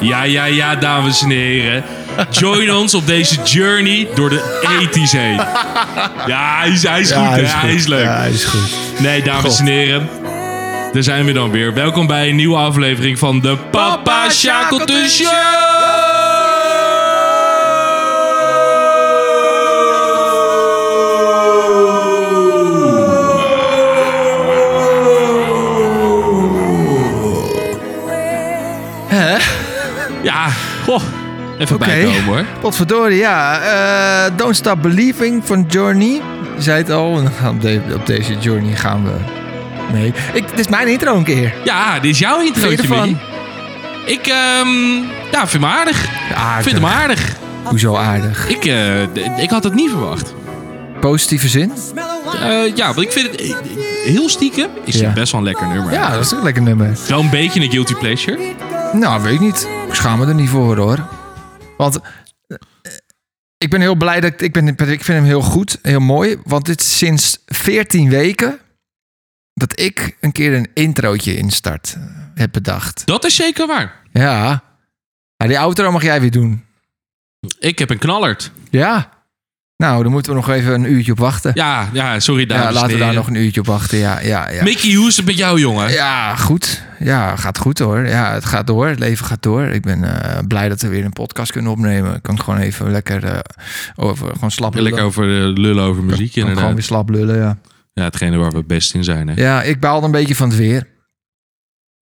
Ja, ja, ja, dames en heren. Join ons op deze journey door de 80s heen. Ja, hij is, hij is Ja, goed, hè? hij is hij goed. is leuk. Ja, hij is goed. Nee, dames en heren. Daar zijn we dan weer. Welkom bij een nieuwe aflevering van de Papa Shackleton Show! Ja, goh. Even bijkomen hoor. Potverdorie, ja. Eh, Don't Stop Believing van Journey. Je zei het al, en we gaan op, de- op deze Journey gaan we mee. Ik, dit is mijn intro een keer. Ja, dit is jouw Vind je introotje, ervan? Winnie. Ik ehm, ja, vind hem aardig. Aardig. vind hem aardig. Hoezo aardig? Ik, eh, d- ik had het niet verwacht. Positieve zin? Eh, ja, want ik vind het eh, heel stiekem. Is het Ja. best wel een lekker nummer. Ja, dat is een lekker nummer. Wel een beetje een guilty pleasure. Nou, weet ik niet. Ik schaam me er niet voor hoor. Want eh, ik ben heel blij dat ik, ik, ben, ik vind hem heel goed, heel mooi. Want dit is sinds 14 weken dat ik een keer een introotje instart eh, heb bedacht. Dat is zeker waar. Ja. Nou, die outro mag jij weer doen. Ik heb een knallert. Ja. Nou, dan moeten we nog even een uurtje op wachten. Ja, ja sorry Ja, dames en laten we daar heren. nog een uurtje op wachten. Ja, ja, ja. Mickey, hoe is het met jou, jongen? Ja, goed. Ja, gaat goed hoor. Ja, het gaat door. Het leven gaat door. Ik ben eh, blij dat we weer een podcast kunnen opnemen. Kan ik gewoon even lekker eh, over, gewoon slap lullen. Lekker over eh, lullen over muziek, Kan ik gewoon inderdaad. weer slap lullen, ja. Ja, hetgene waar we best in zijn, hè. Ja, ik baalde een beetje van het weer.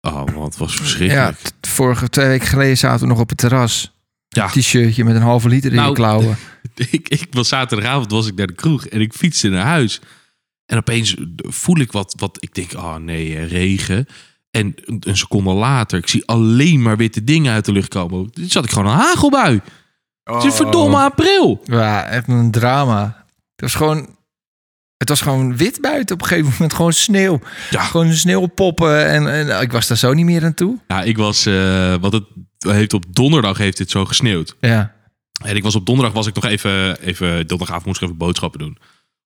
Oh, wat was Ja, verschrikkelijk. t- vorige twee weken geleden zaten we nog op het terras. Ja. T-shirtje met een halve liter in Nou, je klauwen. ik, ik was zaterdagavond was ik naar de kroeg en ik fietste naar huis. En opeens voel ik wat, wat ik denk, oh nee, eh, regen. En een, een seconde later, ik zie alleen maar witte dingen uit de lucht komen. Toen zat ik gewoon een hagelbui. Het Oh. is een verdomme april. Ja, echt een drama. Het was gewoon... Het was gewoon wit buiten op een gegeven moment. Gewoon sneeuw. Ja. Gewoon sneeuwpoppen. En, en ik was daar zo niet meer aan toe. Ja, ik was, eh wat het heeft op donderdag heeft het zo gesneeuwd. Ja. En ik was op donderdag was ik nog even, even donderdagavond moest ik even boodschappen doen.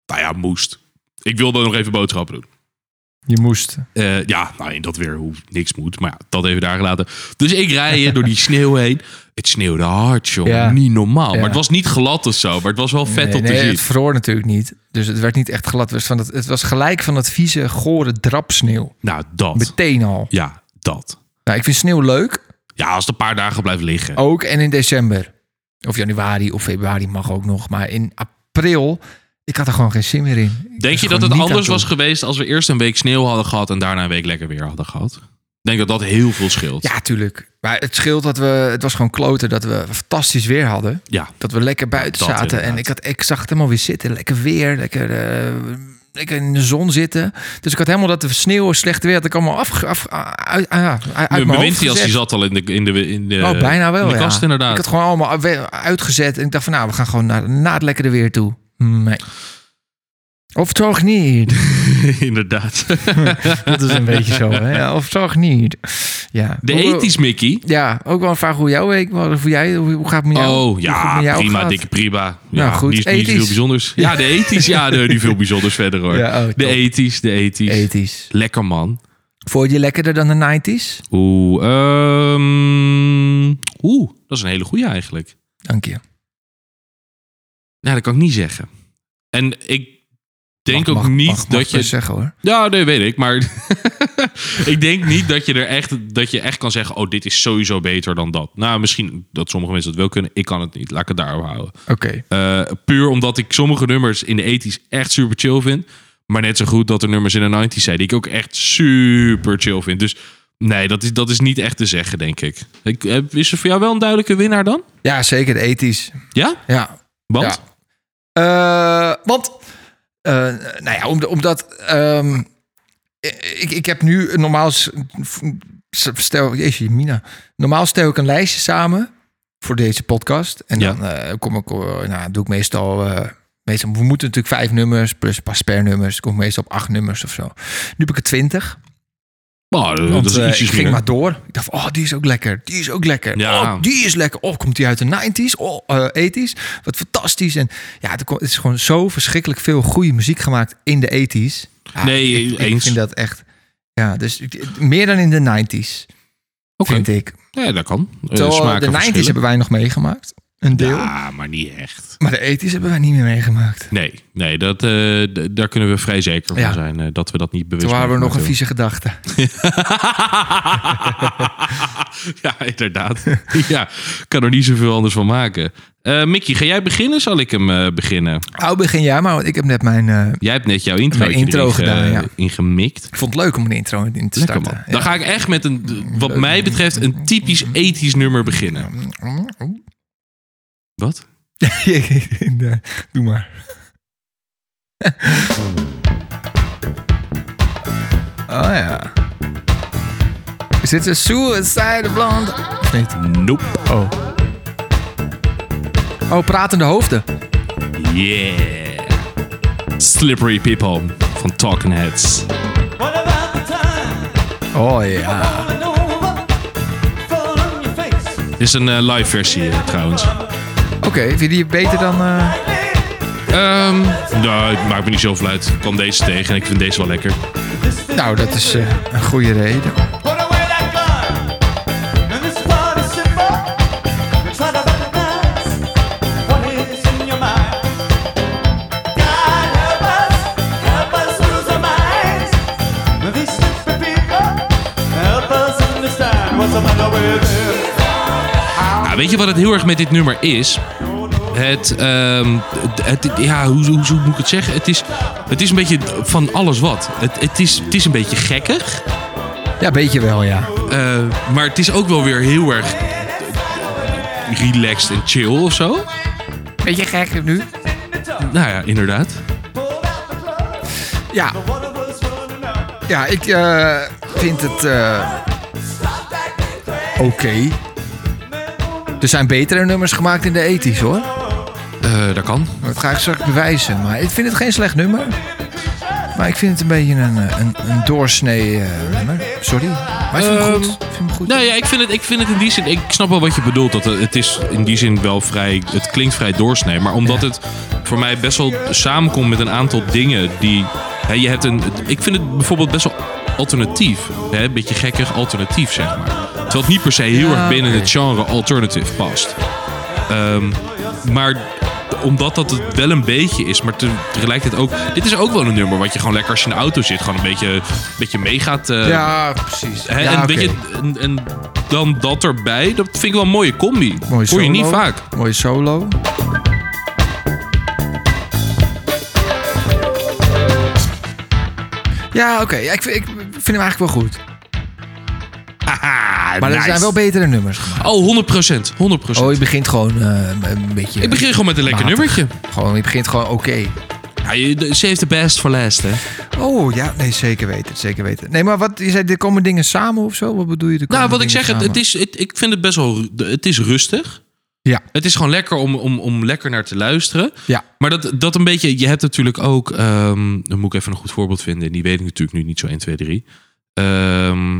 Nou ja, moest. Ik wilde nog even boodschappen doen. Je moest. Eh, ja, nou in dat weer hoe niks moet. Maar ja, dat even daar gelaten. Dus ik rij eh, door die sneeuw heen. Het sneeuwde hard, jongen. Ja. Niet normaal. Ja. Maar het was niet glad of zo. Maar het was wel vet nee, om nee, te zien. het vroor natuurlijk niet. Dus het werd niet echt glad. Het was, van dat, het was gelijk van dat vieze, gore drapsneeuw. Nou, dat. Meteen al. Ja, dat. Nou, ik vind sneeuw leuk. Ja, als het een paar dagen blijft liggen. Ook en in december. Of januari of februari mag ook nog. Maar in april, ik had er gewoon geen zin meer in. Ik was Denk je Dus gewoon dat het niet aan anders toe. was geweest als we eerst een week sneeuw hadden gehad en daarna een week lekker weer hadden gehad? Ik denk dat dat heel veel scheelt. Ja, tuurlijk. Maar het scheelt dat we... Het was gewoon kloten dat we fantastisch weer hadden. Ja. Dat we lekker buiten Dat zaten. En inderdaad. ik, had, ik zag het helemaal weer zitten. Lekker weer, lekker, eh, lekker in de zon zitten. Dus ik had helemaal dat de sneeuw en slecht weer... had ik allemaal af, af, uit, ah, ja, uit mijn mijn hoofd windjas die gezet. zat al in de, in de, in de, Oh, bijna wel, in de ja. kast inderdaad. Ik had gewoon allemaal we- uitgezet. En ik dacht van, nou, we gaan gewoon naar, naar het lekkere weer toe. Nee. Of toch niet. inderdaad. Dat is een beetje zo, hè? Ja, of toch niet. Ja. De Hoe- ethisch Mickey. Ja, ook wel een vraag hoe jouw week was. Of hoe, jij, hoe, hoe gaat het met jou? hoe Oh, goed het ja, met jou prima, gaat? dikke prima. Ja, Nou, goed, Die is niet ethisch. veel bijzonders. Ja, de ethisch. Ja, de, die veel bijzonders verder hoor. Ja, oh, de top. ethisch, de ethisch. Ethisch. Lekker man. Vond je die lekkerder dan de 90s? Oeh, ehm, oeh, dat is een hele goeie eigenlijk. Dank je. Ja, dat kan ik niet zeggen. En ik denk Mag- ook mag- niet mag- mag dat best je... zeggen hoor. Ja, nee, weet ik. Maar ik denk niet dat je er echt, dat je echt kan zeggen... oh, dit is sowieso beter dan dat. Nou, misschien dat sommige mensen dat wel kunnen. Ik kan het niet. Laat ik het daarop houden. Oké. Eh, puur omdat ik sommige nummers in de 80s echt super chill vind. Maar net zo goed dat er nummers in de 90s zijn die ik ook echt super chill vind. Dus nee, dat is, dat is niet echt te zeggen, denk ik. ik eh, is er voor jou wel een duidelijke winnaar dan? Ja, zeker de ethisch. Ja? Ja, Want? Ja. Eh, want, eh, nou ja, om- omdat ehm, ik, ik heb nu een normaal, s- stel, jeetje, Mina, normaal stel ik een lijstje samen voor deze podcast. En Ja. dan eh, kom ik, eh, nou, doe ik meestal, eh, meestal, we moeten natuurlijk vijf nummers plus een paar spernummers. Ik kom meestal op acht nummers of zo. Nu heb ik er twintig. Oh, dat, Want dat is eh, ietsjes ik ging meer. maar door. Ik dacht, van, oh, die is ook lekker. Die is ook lekker. Ja. Oh, die is lekker. Oh, komt die uit de 90s? Oh, eh 80s? Wat fantastisch. En ja, het ko- het is gewoon zo verschrikkelijk veel goede muziek gemaakt in de 80s. Ja, Nee, ik, ik eens. vind dat echt. Ja, dus ik- meer dan in de 90s. Oké. vind ik. Ja, dat kan. Eh, Terwijl smaken de 90's verschillen. hebben wij nog meegemaakt. Een deel. Ja, maar niet echt. Maar de 80's hebben wij niet meer meegemaakt. Nee, nee dat, eh, d- daar kunnen we vrij zeker Ja. van zijn eh, dat we dat niet bewust Toen hadden we nog een meegemaakt vieze gedachte. hebben. ja, inderdaad. ja, kan er niet zoveel anders van maken. Eh Mickey, ga jij beginnen? Zal ik hem eh, beginnen? Oh, begin jij maar, want ik heb net mijn... eh, Jij hebt net jouw intro Mijn intro gedaan, ja. ingemikt. ik vond het leuk om een intro in te Lekker starten. man. Dan ga ik echt met een, wat mij betreft, een typisch ethisch nummer beginnen. Wat? Ja, Doe maar. Oh ja. Is dit een suicide blonde? Of niet? Nope. Oh. Oh, pratende hoofden. Yeah. Slippery People van Talking Heads. What about the time Oh ja. coming over? Fall on your face. Dit is een eh, live versie eh, trouwens. Oké, vind je die beter dan... eh, Ehm, nou, het maakt me niet zoveel uit. Ik kwam deze tegen en ik vind deze wel lekker. Nou, dat is eh, een goede reden. Put away that gun. And this party symbol. You try to recognize what is in your mind. God help us, help us lose our minds. These stupid people, help us understand what's the matter with them. Nou, weet je wat het heel erg met dit nummer is? Het, ehm, het, het- ja, hoe, hoe, hoe moet ik het zeggen? Het is, het is een beetje van alles wat. Het, het, is, het is een beetje gekkig. Ja, beetje wel, ja. Eh, maar het is ook wel weer heel erg eh, relaxed en chill of zo. Beetje gek nu. Nou ja, inderdaad. Ja. Ja, ik eh, vind het eh, oké. Er zijn betere nummers gemaakt in de ethisch hoor. Eh, dat kan. Dat ga ik straks bewijzen. Maar ik vind het geen slecht nummer. Maar ik vind het een beetje een, eh, een, een doorsnee eh, nummer. Sorry. Maar ik vind hem Ehm, goed. Ik vind hem goed. Nou ja, ik vind, het, ik vind het in die zin... Ik snap wel wat je bedoelt. Dat het, het is in die zin wel vrij... Het klinkt vrij doorsnee. Maar omdat het voor mij best wel samenkomt met een aantal dingen die... Hè, je hebt een, ik vind het bijvoorbeeld best wel alternatief. Hè, een beetje gekkig alternatief, zeg maar. Terwijl het niet per se heel Ja, erg binnen oké. het genre alternative past. Ehm, maar omdat dat het wel een beetje is, maar te- tegelijkertijd ook... Dit is ook wel een nummer wat je gewoon lekker als je in de auto zit... gewoon een beetje, een beetje meegaat... eh ja, precies. Hè, ja, en, oké. weet je, en, en dan dat erbij, dat vind ik wel een mooie combi. Mooi Hoor je niet solo. vaak. Mooi solo. Ja, oké. Ja, ik, vind- ik vind hem eigenlijk wel goed. Haha, Maar er nice. zijn wel betere nummers. gemaakt. Oh, 100 procent. 100 Oh, je begint gewoon eh, een beetje... Ik begin gewoon met een lekker Matig. nummertje. Gewoon, je begint gewoon oké. Ja, je- de- Save the best for last, hè? Oh ja, nee, zeker weten. Zeker weten. Nee, maar wat, je zei, er komen dingen samen of zo? Wat bedoel je? er komen Nou, wat ik dingen zeg, het, samen? het is, het- ik vind het best wel... ru- Het is rustig. Ja. Het is gewoon lekker om, om, om lekker naar te luisteren. Ja. Maar dat, dat een beetje... Je hebt natuurlijk ook... ehm, dan moet ik even een goed voorbeeld vinden. En die weet ik natuurlijk nu niet zo 1, 2, 3. Ehm,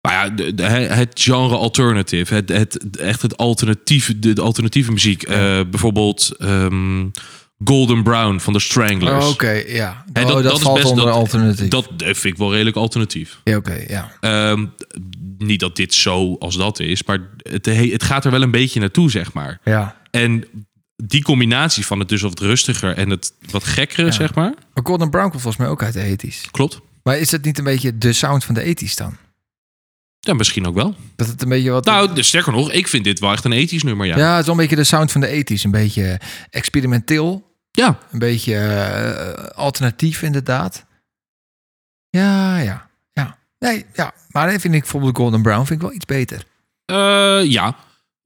maar ja, de- de- het genre alternative. Het, het, echt het alternatieve, de, de alternatieve muziek. Eh, bijvoorbeeld ehm, Golden Brown van de Oh, Stranglers. oké, ja. Hè, oh, dat, is valt best- onder dat- alternatief. Dat eh, vind ik wel redelijk alternatief. ja, oké, ja. Ehm, niet dat dit zo als dat is, maar het, he- het gaat er wel een beetje naartoe, zeg maar. Ja. En die combinatie van het dus wat rustiger en het wat gekkere, zeg maar. Maar Gordon Brown komt volgens mij ook uit de ethisch. Klopt. Maar is dat niet een beetje de sound van de ethisch dan? Ja, misschien ook wel. Dat het een beetje wat... Nou, sterker nog, ik vind dit wel echt een ethisch nummer, ja. ja, het is wel een beetje de sound van de ethisch. Een beetje experimenteel. Ja, Een beetje eh, alternatief inderdaad. Ja, ja, ja. Nee, ja. Maar dan vind ik bijvoorbeeld Golden Brown vind ik wel iets beter. Eh, ja.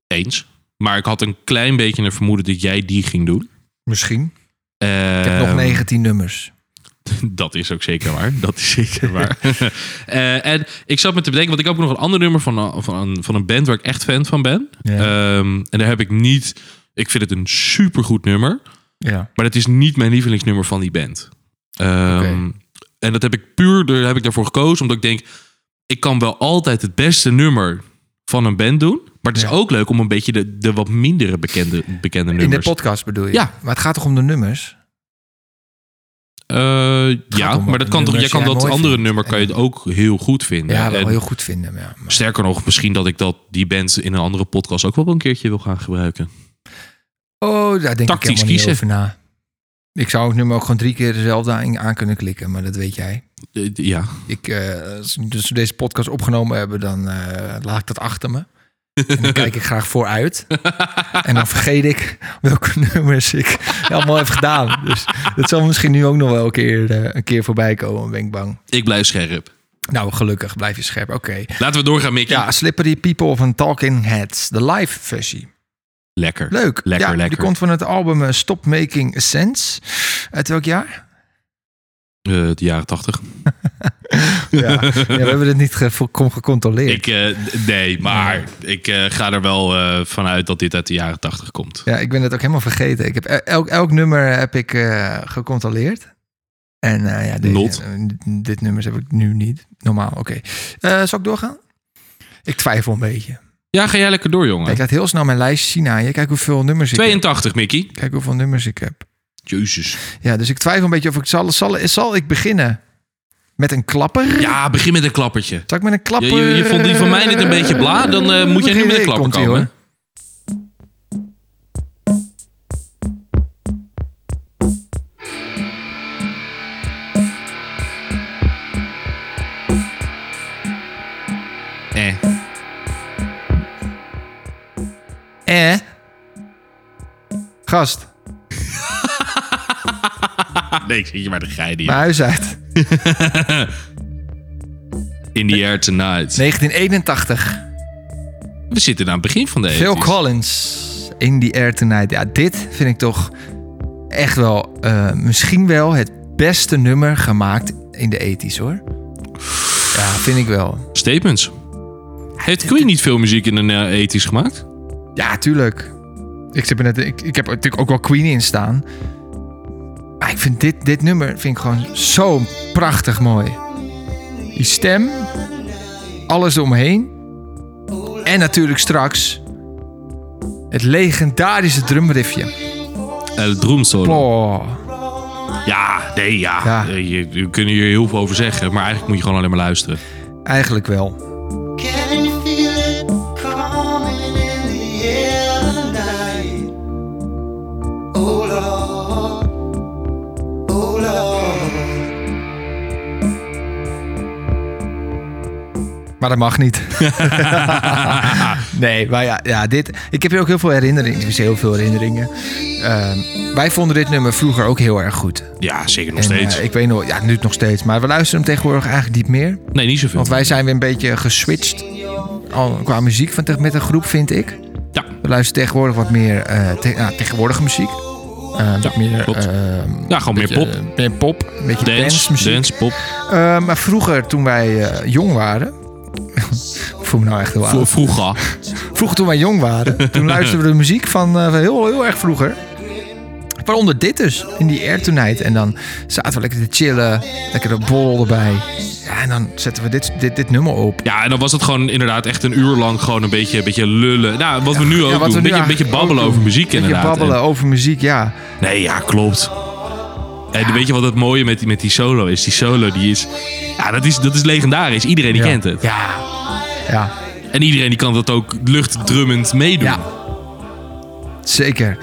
eens. Maar ik had een klein beetje een vermoeden dat jij die ging doen. Misschien. Eh, Ik heb nog e- 19 nummers. Dat is ook zeker waar. Dat is zeker waar. Eh, en ik zat me te bedenken, want ik heb ook nog een ander nummer van, eh, van, van een band waar ik echt fan van ben. Ja. Ehm, en daar heb ik niet. Ik vind het een supergoed nummer, Ja. maar het is niet mijn lievelingsnummer van die band. Ehm, Oké. En dat heb ik puur daar heb ik daarvoor gekozen, omdat ik denk, ik kan wel altijd het beste nummer van een band doen. Maar het is Ja. ook leuk om een beetje de, de wat mindere bekende, bekende In de nummers. podcast bedoel je? Ja. Maar het gaat toch om de nummers? Eh, ja, om maar wat dat kan toch, jij nummers kan jij dat mooi andere vindt. nummer kan je het ook heel goed vinden. Ja, wel En heel goed vinden. maar Ja, maar- Sterker nog, misschien dat ik dat die band in een andere podcast ook wel een keertje wil gaan gebruiken. Oh, daar denk Tactisch ik helemaal kiezen. niet over na. Ik zou het nummer ook gewoon drie keer dezelfde aan aan kunnen klikken, maar dat weet jij. Eh, ja. Ik, eh, als dus we deze podcast opgenomen hebben, dan eh, laat ik dat achter me. En dan kijk ik graag vooruit. En dan vergeet ik welke nummers ik allemaal heb gedaan. Dus dat zal misschien nu ook nog wel een keer, eh, een keer voorbij komen, ben ik bang. Ik blijf scherp. Nou, gelukkig blijf je scherp. Oké. Laten we doorgaan, Mickey. Ja, Slippery People van Talking Heads. De live versie. Lekker. Leuk. Lekker, ja, lekker. Die komt van het album eh, Stop Making Sense. Uit welk jaar? Eh, de jaren tachtig. Ja, ja we hebben het niet ge- volkom gecontroleerd. Ik, eh, d- nee, maar ik eh, ga er wel eh, vanuit dat dit uit de jaren tachtig komt. Ja, ik ben het ook helemaal vergeten. Ik heb el- elk, elk nummer heb ik eh, gecontroleerd. En eh, ja, de- Not. eh, dit nummers heb ik nu niet. Normaal, oké. Eh, zal ik doorgaan? Ik twijfel een beetje. Ja, ga jij lekker door, jongen. Ik laat heel snel mijn lijstje zien aan je. Kijk hoeveel nummers ik heb. 82, Mickey. Kijk hoeveel nummers ik heb. Jezus. Ja, dus ik twijfel een beetje of ik... Zal, zal, zal ik beginnen met een klapper? Ja, begin met een klappertje. Zal ik met een Je, klapper... je, je vond die van mij net een beetje bla, dan eh, moet jij nu met een klapper Komt-ie, komen. Eh. Eh? Gast, Nee, ik zit je maar de geide hier. mijn huis uit. In the air tonight. 1981. We zitten aan het begin van de Phil 80's. Collins. In the air tonight. Ja, dit vind ik toch echt wel... eh, misschien wel het beste nummer gemaakt in de 80s, hoor. Ja, vind ik wel. Statements. Heeft Queen niet veel muziek in de eh, 80's gemaakt? Ja, tuurlijk. Ik, zit me net, ik, ik heb er natuurlijk ook wel Queen in staan. Maar ik vind dit, dit nummer vind ik gewoon zo prachtig mooi. Die stem, alles eromheen. En natuurlijk straks het legendarische drumriffje. El Droom Solo. Oh, Eh, Ja, nee, ja. Ja. Eh, Je, we kunnen hier heel veel over zeggen, maar eigenlijk moet je gewoon alleen maar luisteren. eigenlijk wel. Can you feel it crawling in the air tonight? Oh Lord, oh Lord. Maar dat mag niet. nee, maar ja, ja dit, ik heb hier ook heel veel herinneringen. Ik heb heel veel herinneringen. Ehm, wij vonden dit nummer vroeger ook heel erg goed. Ja, zeker nog En, steeds. eh, ik weet nog, ja, nu nog steeds. Maar we luisteren hem tegenwoordig eigenlijk niet meer. nee, niet zoveel. Want wij zijn weer een beetje geswitcht. Al qua muziek van, met een groep, vind ik. Ja, We luisteren tegenwoordig wat meer eh, te- nou, tegenwoordige muziek. Eh, wat meer, klopt. ehm, ja, gewoon meer beetje, pop. eh, meer pop. Een beetje dance, Dance, muziek. dance, pop. Eh, maar vroeger, toen wij eh, jong waren... ik voel me nou echt heel Vro- oud. Vroeger. Vroeger toen wij jong waren, toen luisterden we de muziek van eh, van heel, heel erg vroeger. Waaronder dit dus, in die Air Tonight. En dan zaten we lekker te chillen, lekker de borrel erbij. Ja, en dan zetten we dit, dit, dit nummer op. Ja, en dan was het gewoon inderdaad echt een uur lang gewoon een beetje, een beetje lullen. Nou, wat we nu ook Ja, doen. we Een beetje, een nu beetje eigenlijk babbelen ook over doen. muziek Beetje inderdaad. babbelen over muziek, ja. En- nee, ja, klopt. En weet je wat het mooie met, die- met die solo is? Die solo die is... Ja, dat is, dat is legendarisch. Iedereen die ja. kent het. Ja, ja, En iedereen die kan dat ook luchtdrummend meedoen. Ja. zeker.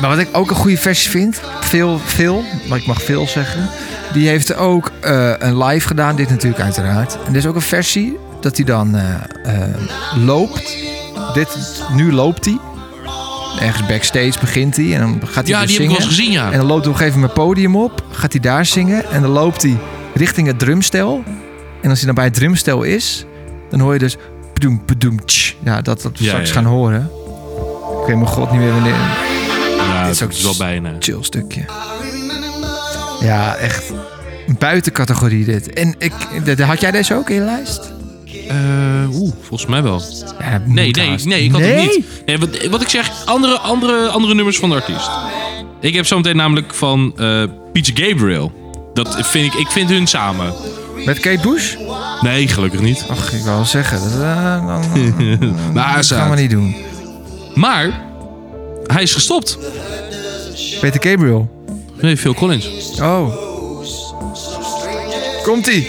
Maar wat ik ook een goede versie vind, veel, veel, maar ik mag veel zeggen. Die heeft ook eh, een live gedaan, dit natuurlijk uiteraard. En er is ook een versie dat hij dan eh, eh, loopt. Dit, nu loopt hij. Ergens backstage begint hij en dan gaat Ja, hij dus die heb ik zingen. wel eens gezien, ja. En dan loopt hij op een gegeven moment het podium op, gaat hij daar zingen en dan loopt hij richting het drumstel. En als hij dan bij het drumstel is, dan hoor je dus bedoem, bedoem, tsch. Ja, dat dat we Ja, straks ja. gaan horen. Ik weet mijn god niet meer wanneer. Ja, is ook dat is wel bijna. Chill stukje. Ja, echt buiten categorie dit. En ik, de- de- had jij deze ook in je lijst? Eh, Oeh, volgens mij wel. Ja, dat Nee, moet nee, haast. nee, ik had Nee? het niet. Nee, wat, wat ik zeg, andere, andere, andere nummers van de artiest. Ik heb zometeen namelijk van eh Peach Gabriel. Dat vind ik, ik vind hun samen. Met Kate Bush? Nee, gelukkig niet. Ach, ik wou wel zeggen. Dat, eh, dan, Maar, dat gaan we niet doen. maar hij is gestopt. Peter Gabriel. Nee, Phil Collins. Oh. Komt-ie.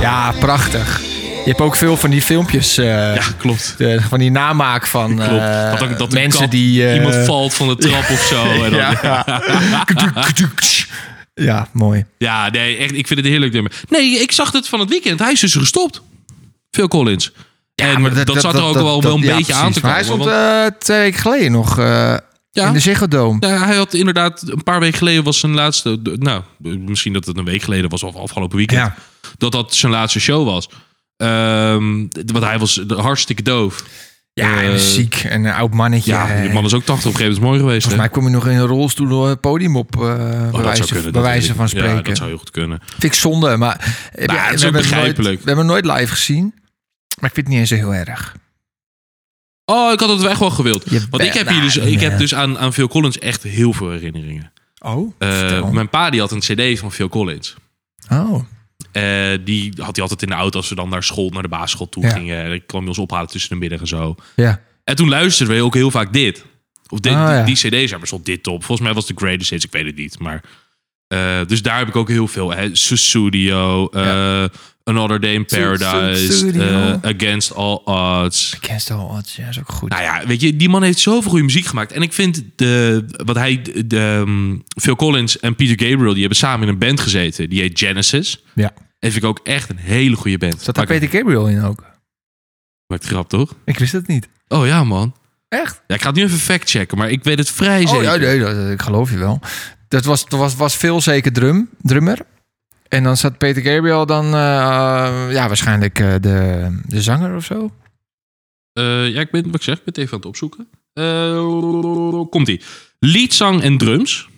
Ja, prachtig. Je hebt ook veel van die filmpjes, eh, Ja, klopt. de- van die namaak van Klopt. eh, dat ook, dat de mensen kap- die... eh, iemand valt van de trap of zo. En dan, ja. Ja. ja, mooi. nee, echt. Ik vind het een heerlijk nummer. Nee, ik zag het van het weekend. Hij is dus gestopt. Phil Collins. en maar dat, zat er ook wel, dat- wel een ja, beetje aan precies. te Maar komen. hij stond want- eh, twee weken geleden nog eh, Ja. in de Ziggo Dome. Ja, hij had inderdaad een paar weken geleden was zijn laatste. d- Nou, misschien dat het een week geleden was of afgelopen weekend. Ja. Dat dat zijn laatste show was. Ehm, d- want hij was d- hartstikke doof. Ja, en Eh, ziek en een oud mannetje. Ja, die eh, man is ook 80 op een gegeven moment mooi geweest. Volgens Hè? mij kwam hij nog in een rolstoel door het podium op, eh bij Oh, dat wijze, zou kunnen, bij dat wijze weet ik. van spreken. Ja, dat zou heel goed kunnen. Vind ik zonde, maar eh, Nou, het is ook hebben hem nooit, begrijpelijk. we hebben hem nooit live gezien. Maar ik vind het niet eens zo heel erg. Oh, ik had het wel echt wel gewild. Je Want ik bent- heb, hier dus, nou, ik heb ja. dus aan, aan Phil Collins echt heel veel herinneringen. Oh, Eh, vertel. mijn pa die had een cd van Phil Collins. oh. Eh, die had hij altijd in de auto als we dan naar school, naar de basisschool toe Ja. gingen. En ik kwam hij ons ophalen tussen de middag en zo. ja. En toen luisterden we ook heel vaak dit. Of dit, Ah, ja. die, die cd's hebben stond dit op. Volgens mij was de Greatest Hits, ik weet het niet. Maar, eh, dus daar heb ik ook heel veel. Hè. Su- Studio, eh, Another Day in Su- Su- Paradise, Studio. eh, Against All Odds. Against All Odds, ja, is ook goed. Nou ja, weet je, die man heeft zoveel goede muziek gemaakt. En ik vind de, wat hij, de, ehm, Phil Collins en Peter Gabriel, die hebben samen in een band gezeten. Die heet Genesis. ja. En vind ik ook echt een hele goede band. Zat daar Maakt- Peter Gabriel in ook? Maakt grap, toch? Ik wist het niet. Oh ja, man. Echt? Ja, ik ga het nu even fact-checken, maar ik weet het vrij Oh, zeker. ja, nee, dat, ik geloof je wel. Dat was, dat was, was veel zeker drum, drummer. En dan zat Peter Gabriel dan, eh, ja, waarschijnlijk eh, de, de zanger of zo. Eh, ja, ik ben, wat ik zeg, ik ben het even aan het opzoeken. Eh, Komt-ie. Lead, zang en drums.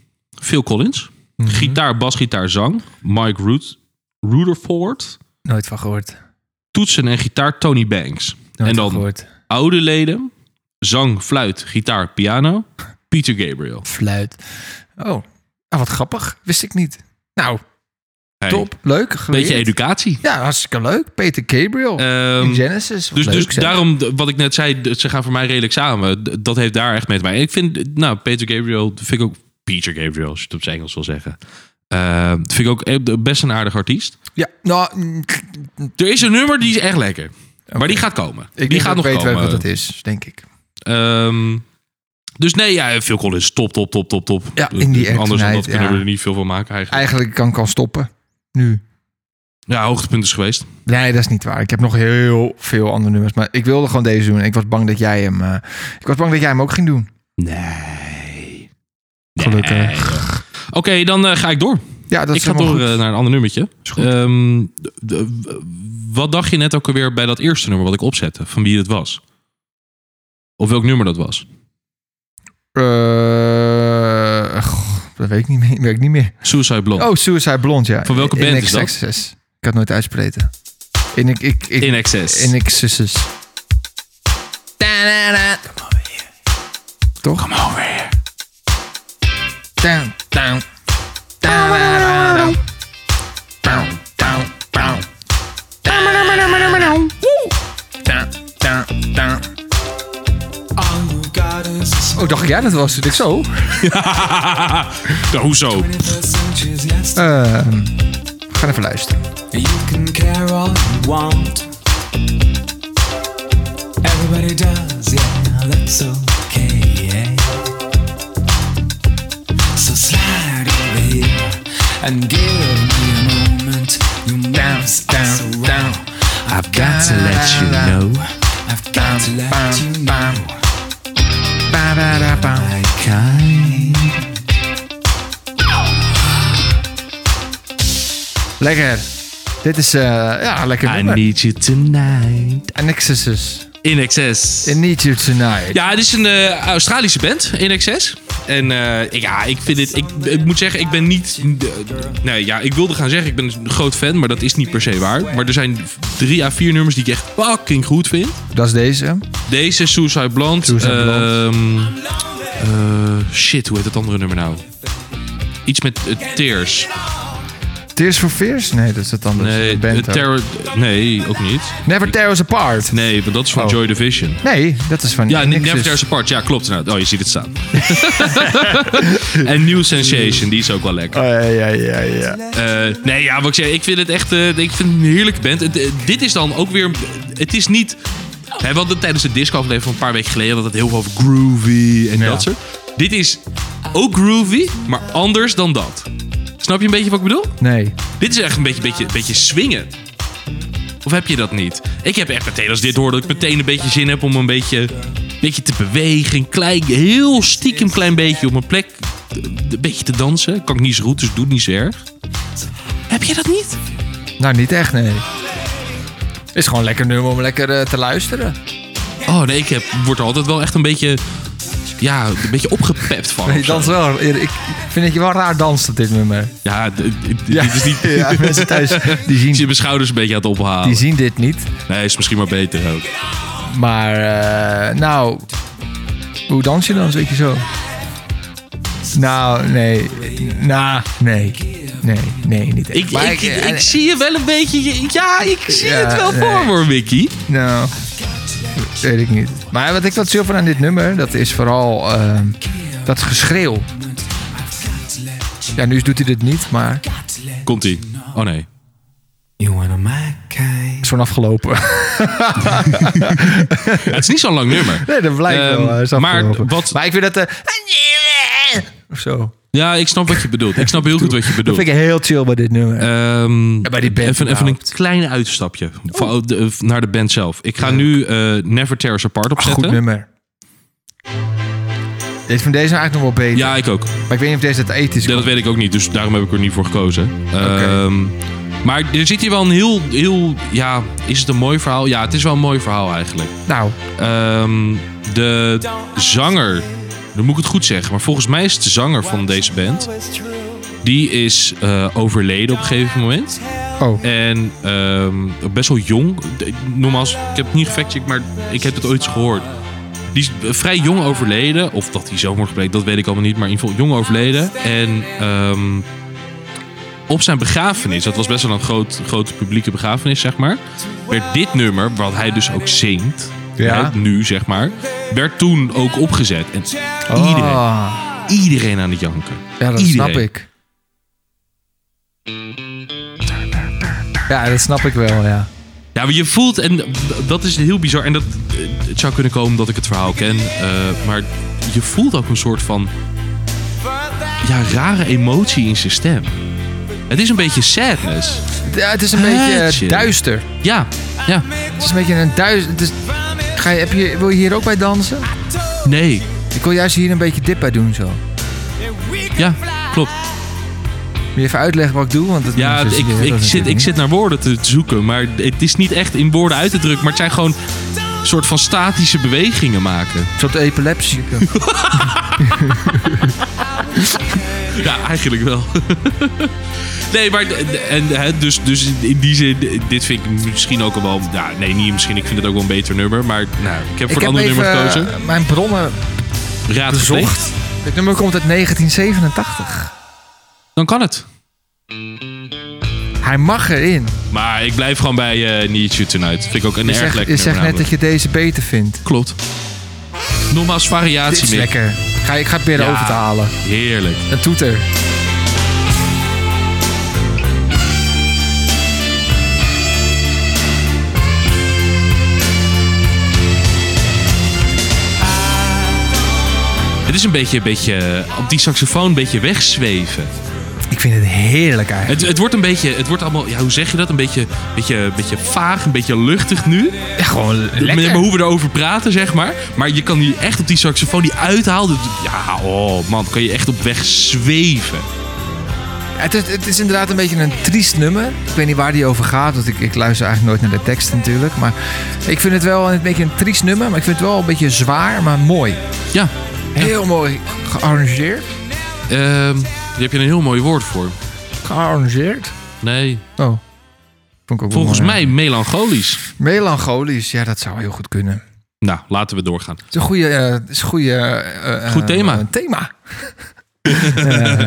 Phil Collins. Mhm. Gitaar, basgitaar, zang. Mike Root, Rutherford. Nooit van gehoord. Toetsen en gitaar, Tony Banks. Nooit en van dan gehoord. oude leden. Zang, fluit, gitaar, piano. Peter Gabriel. Fluit. Oh, nou, wat grappig. Wist ik niet. Nou, Hey, top. Leuk. Geleerd. Beetje educatie. Ja, hartstikke leuk. Peter Gabriel. Ehm, in Genesis. Wat dus leuk, dus zeg. daarom, d- wat ik net zei, d- ze gaan voor mij redelijk samen. D- Dat heeft daar echt mee te maken. Ik vind, nou, Peter Gabriel, vind ik ook Peter Gabriel, als je het op zijn Engels wil zeggen. Eh, vind ik ook eh, best een aardig artiest. Ja, nou, mm, Er is een nummer die is echt lekker. Maar die gaat komen. ik die denk gaat dat nog eh, ik weet komen. wat het is, denk ik. Ehm, dus nee, ja, Phil Collins, top, top, top, top, top. Ja, in die act Anders dan dat tonight, kunnen we ja. er niet veel van maken eigenlijk. Eigenlijk kan ik al stoppen. Nu. Ja, hoogtepunt is geweest. Nee, dat is niet waar. Ik heb nog heel veel andere nummers. Maar ik wilde gewoon deze doen. Ik was bang dat jij hem, eh, ik was bang dat jij hem ook ging doen. Nee. Gelukkig. Oké, dan eh, ga ik door. Ja, dat ik is ga door helemaal eh, goed. naar een ander nummertje. goed. Ehm, d- d- w- wat dacht je net ook alweer bij dat eerste nummer wat ik opzette? Van wie het was? Of welk nummer dat was? Eh, goh, dat weet ik niet meer. Weet ik niet meer. Suicide Blonde. Oh, Suicide Blonde, ja. Van welke In band is Ex- dat? Excess. Ik had nooit uitspreken. In ik ik ik In Excess. in Excesses. Toch? Kom over Down, down. Oh, dacht jij dat was? Ik zo. Nou, hoezo? Ehm, we gaan even luisteren. You can care all you want. Everybody does, yeah, that's okay, yeah. So slide over here and give me a moment. You moves down, so down. I've got to let you know. I've got to let you know. I kind. Lekker. Dit is eh ja, lekker I nummer. need you tonight. Annexes. In Excess. I need you tonight. Ja, het is een eh, Australische band, In Excess. En eh, ik, ja, ik vind dit... Ik, ik moet zeggen, ik ben niet... nee, ja, ik wilde gaan zeggen, ik ben een groot fan, maar dat is niet per se waar. Maar er zijn drie à vier nummers die ik echt fucking goed vind. Dat is deze. Deze, Suicide Blonde. Suicide Blonde. ehm, eh, shit, hoe heet het andere nummer nou? Iets met eh, Tears. Tears for Fears? Nee, dat is het anders. Nee, Een band eh, ook. terror, nee, ook niet. Never Tear Us Apart. Nee, want dat is van Oh. Joy Division. Nee, dat is van Ja, niks Never dus. Tears Apart. Ja, klopt. Nou, oh, je ziet het staan. en New Sensation, die is ook wel lekker. Oh, ja, ja, ja, ja. Eh, nee, ja, wat ik zeg, ik vind het echt eh, ik vind het een heerlijke band. Het, eh, dit is dan ook weer... Het is niet... Hè, we hadden tijdens de disco-aflevering van een paar weken geleden... dat het heel veel over groovy en Ja. dat soort. Dit is ook groovy, maar anders dan dat. Snap je een beetje wat ik bedoel? Nee. Dit is echt een beetje, beetje, beetje swingen. Of heb je dat niet? Ik heb echt meteen als dit hoor dat ik meteen een beetje zin heb om een beetje, een beetje te bewegen. Een klein, heel stiekem klein beetje op mijn plek. eh, Een beetje te dansen. Kan ik niet zo goed, dus doe het niet zo erg. Heb je dat niet? Nou, niet echt, nee. Is gewoon lekker nummer om lekker eh, te luisteren. Oh nee, ik heb, word er altijd wel echt een beetje, ja, een beetje opgepept van. Nee, of zo. dans wel. Ik vind dat je wel raar danst op dit nummer. Ja, d- d- dit is niet... Ja, mensen thuis die Ik zit zien, mijn schouders een beetje aan het ophalen. die zien dit niet. Nee, is misschien maar beter ook. Maar, eh, nou, hoe dans je dan, weet je zo? Nou, nee. Nou, nee. Nee, nee, niet echt. Ik, Maar ik, ik, eh, ik zie je wel een beetje. Ja, ik zie Ja, het wel nee. voor me, hoor, Mickey. Nou, weet ik niet. Maar wat ik wat chill vind aan dit nummer, dat is vooral ehm, dat geschreeuw. Ja, nu doet hij dit niet, maar het Komt ie. Nou. Oh nee. You one of my kind. is gewoon afgelopen. het is niet zo'n lang nummer. nee, dat blijkt wel. Ehm, Hij is maar afgelopen. wat. maar ik vind dat... eh, of zo. Ja, ik snap wat je bedoelt. Ik snap heel goed wat je Dat bedoelt. vind ik heel chill bij dit nummer. Ehm, bij die band even, even een überhaupt. klein uitstapje Oh. van- de- naar de band zelf. Ik ga nu eh, Never Tear Us Apart Ah, Goed opzetten. nummer. Deze van deze eigenlijk nog wel beter. ja, ik ook. Maar ik weet niet of deze het ethisch Ja, dat komt. weet ik ook niet, dus daarom heb ik er niet voor gekozen. Ehm, maar er zit hier wel een heel, heel... Ja, is het een mooi verhaal? Ja, het is wel een mooi verhaal eigenlijk. Nou, Ehm, de zanger, dan moet ik het goed zeggen, maar volgens mij is het de zanger van deze band. Die is eh, overleden op een gegeven moment. oh. En ehm, best wel jong. De- Nogmaals, ik heb het niet gefactcheckt, maar ik heb het ooit gehoord. Die is eh, vrij jong overleden. Of dat hij zelf wordt gebleekt, dat weet ik allemaal niet. Maar in ieder geval jong overleden. En ehm, op zijn begrafenis, dat was best wel een groot, grote publieke begrafenis, zeg maar. Werd dit nummer, wat hij dus ook zingt. Ja. hè, nu, zeg maar. Werd toen ook opgezet. En iedereen, Ah, iedereen aan het janken. ja, dat Iedereen. snap ik. Ja, dat snap ik wel, ja. Ja, maar je voelt, en dat is heel bizar. En dat, eh, het zou kunnen komen dat ik het verhaal ken. eh, maar je voelt ook een soort van. Ja, rare emotie in zijn stem. Het is een beetje sadness. Ja, het is Ah, een beetje eh, Hatje. duister. Ja, ja. Het is een beetje een duister... Het is, ga je, heb je, wil je hier ook bij dansen? Nee. Ik wil juist hier een beetje dip bij doen, zo. Ja, klopt. Moet je even uitleggen wat ik doe? Want dat Ja, dat is- ik, dus dat is ik, zit, natuurlijk ik niet. zit naar woorden te zoeken. Maar het is niet echt in woorden uit te drukken. Maar het zijn gewoon een soort van statische bewegingen maken. Een soort epilepsie. Ja, eigenlijk wel. nee, maar en, hè, dus, dus in die zin, dit vind ik misschien ook al wel... Ja, nee, niet misschien. Ik vind het ook wel een beter nummer. Maar nou, ik heb voor een ander nummer gekozen. eh, mijn bronnen Raad eh, bezocht. gezocht. Dit nummer komt uit 1987. Dan kan het. Hij mag erin. Maar ik blijf gewoon bij eh Need You Tonight. Vind ik ook een Je erg zegt, lekker je zegt nummer net dat je deze beter vindt. namelijk. Klopt. Nogmaals, Dit variatie is Mick. lekker. Ga, ik ga het proberen Ja. over te halen. Heerlijk. Een toeter. Het is een beetje, een beetje op die saxofoon een beetje wegzweven. Ik vind het heerlijk eigenlijk. Het, het wordt een beetje, het wordt allemaal, ja, hoe zeg je dat? Een beetje, beetje, beetje vaag, een beetje luchtig nu. Echt gewoon Met hoe we erover praten, zeg maar. Maar je kan hier echt op die saxofoon die uithaalt. het- Ja, oh man, kan je echt op weg zweven. Het is, het is inderdaad een beetje een triest nummer. Ik weet niet waar die over gaat, want ik, ik luister eigenlijk nooit naar de tekst natuurlijk. Maar ik vind het wel een beetje een triest nummer, maar ik vind het wel een beetje zwaar, maar mooi. Ja, Heel mooi gearrangeerd. ehm, daar heb je een heel mooi woord voor. Gearrangeerd? Nee, Oh. Vond ik ook wel volgens mooi. mij melancholisch. Melancholisch, ja, dat zou heel goed kunnen. Nou, laten we doorgaan. Het is een goede, eh, het is een goede, eh, eh, Goed thema. eh, thema. Eh,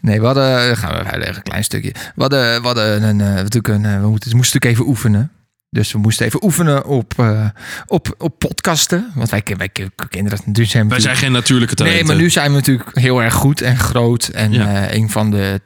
nee, we hadden... eh, Gaan we uitleggen, een klein stukje. We hadden, we hadden een, eh, natuurlijk een... eh, We moesten, we moesten natuurlijk even oefenen. Dus we moesten even oefenen op, eh, op, op podcasten. Want wij, ken- wij ken- kinderen... Nu zijn we Wij zijn natuurlijk- geen natuurlijke Nee, talenten. maar nu zijn we natuurlijk heel erg goed en groot. En Ja. eh, een van de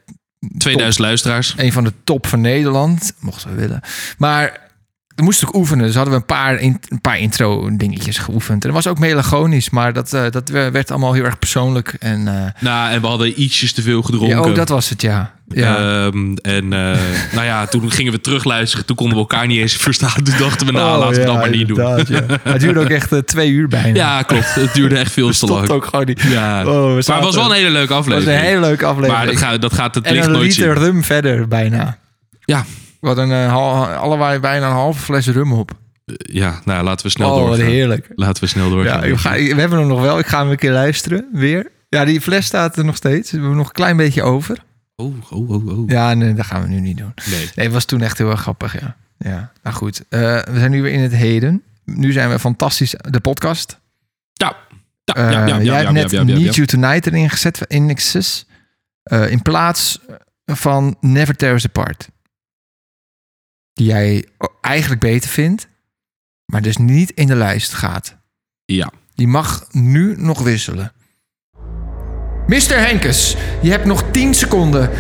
2000 luisteraars. een van de top van Nederland, mochten we willen. Maar we moesten ook oefenen, dus hadden we een paar, in- een paar intro dingetjes geoefend. En dat was ook melagonisch, maar dat, eh, dat we- werd allemaal heel erg persoonlijk. En, eh, Nou, en we hadden ietsjes te veel gedronken. ja, ook dat was het, ja. ja. Ehm, en eh, nou ja, toen gingen we terugluisteren. Toen konden we elkaar niet eens verstaan. Toen dachten we, nou, Oh, laten we ja, dat maar niet doen. inderdaad, ja. Het duurde ook echt eh, twee uur bijna. Ja, klopt. Het duurde echt veel te lang. Stond ook gewoon niet. Ja. Oh, we maar het zaten- was wel een hele leuke Het was aflevering. een hele leuke aflevering. maar dat, ga, dat gaat het licht en een nooit liter zien. rum verder bijna. Ja. We hadden een hal- allebei bijna een halve fles rum op. ja, nou laten we snel oh, wat doorgaan. heerlijk. Laten we snel doorgaan. Ja, ik ga, we hebben hem nog wel. Ik ga hem een keer luisteren, weer. Ja, die fles staat er nog steeds. We hebben nog een klein beetje over. Oh, oh, oh, oh. Ja, nee, dat gaan we nu niet doen. Nee. Nee, het was toen echt heel erg grappig, ja. Ja, nou goed. Eh, we zijn nu weer in het heden. Nu zijn we fantastisch, de podcast. Ja. Ja, Eh, ja, ja, ja, jij ja, hebt ja, net ja, ja, ja. Need You Tonight erin gezet, in Nexus. Eh, in plaats van Never Tear Us Apart. Die jij eigenlijk beter vindt, maar dus niet in de lijst gaat. Ja. Die mag nu nog wisselen. Mr. Henkes, je hebt nog 10 seconden.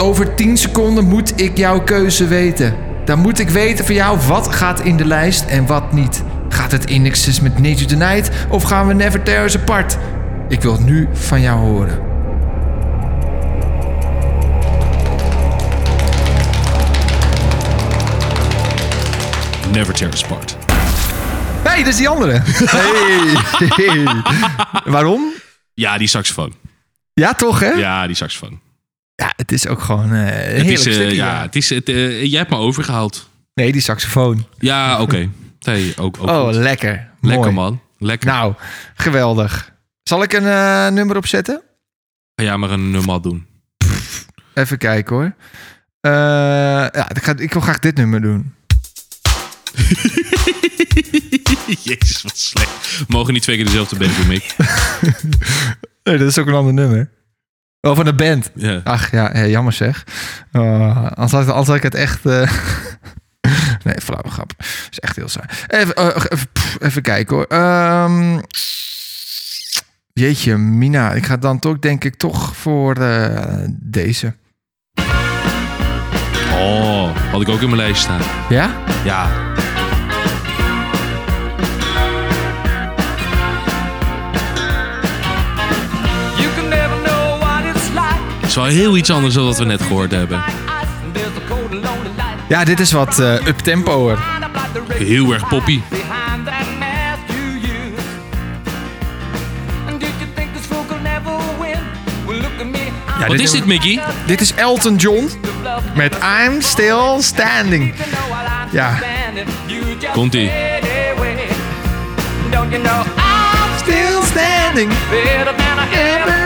Over 10 seconden moet ik jouw keuze weten. Dan moet ik weten van jou wat gaat in de lijst en wat niet. Gaat het indexes met Nature Tonight of gaan we Never Tear Us Apart? Ik wil het nu van jou horen. Never tear us apart. Hé, hey, dat is die andere. Hey. Waarom? Ja, die saxofoon. Ja, toch hè? Ja, Ja, die saxofoon. het is ook gewoon eh, een Het heerlijk is, eh, stukje. ja, het is, het, eh, jij hebt me overgehaald. Nee, die saxofoon. Ja, oké. Nee, ook, ook Oh, goed. lekker. Lekker Mooi. man. Lekker. Nou, geweldig. Zal ik een eh, nummer opzetten? Ga jij maar een nummer doen. Even kijken hoor. Eh, ja, ik, ga, ik wil graag dit nummer doen. Jezus, wat slecht. We mogen niet twee keer dezelfde band doen, Mick. Nee, dat is ook een ander nummer. Oh, van de band. Ja. Ach ja, hé, jammer zeg. Oh, anders, had, anders had ik het echt... eh, nee, flauwe grap. is echt heel saai. Even, eh, even, pff, even kijken hoor. Ehm, jeetje, Mina. Ik ga dan toch denk ik toch voor eh, deze. Oh, had ik ook in mijn lijst staan. Ja? Ja. You can never know what it's like. Het is wel heel iets anders dan wat we net gehoord hebben. There's a cold and lonely light Ja, dit is wat eh uptempoer. lined up like the race Heel erg poppy. behind that mask you use. And did you think this fool could never win? Well, look at me. I'm Wat dit is dit, Mickey? Dit is Elton John the love. met I'm Still Standing. You know while I'm Ja. standing, you just Komt-ie. fade away. Don't you know I'm Still standing. better than I ever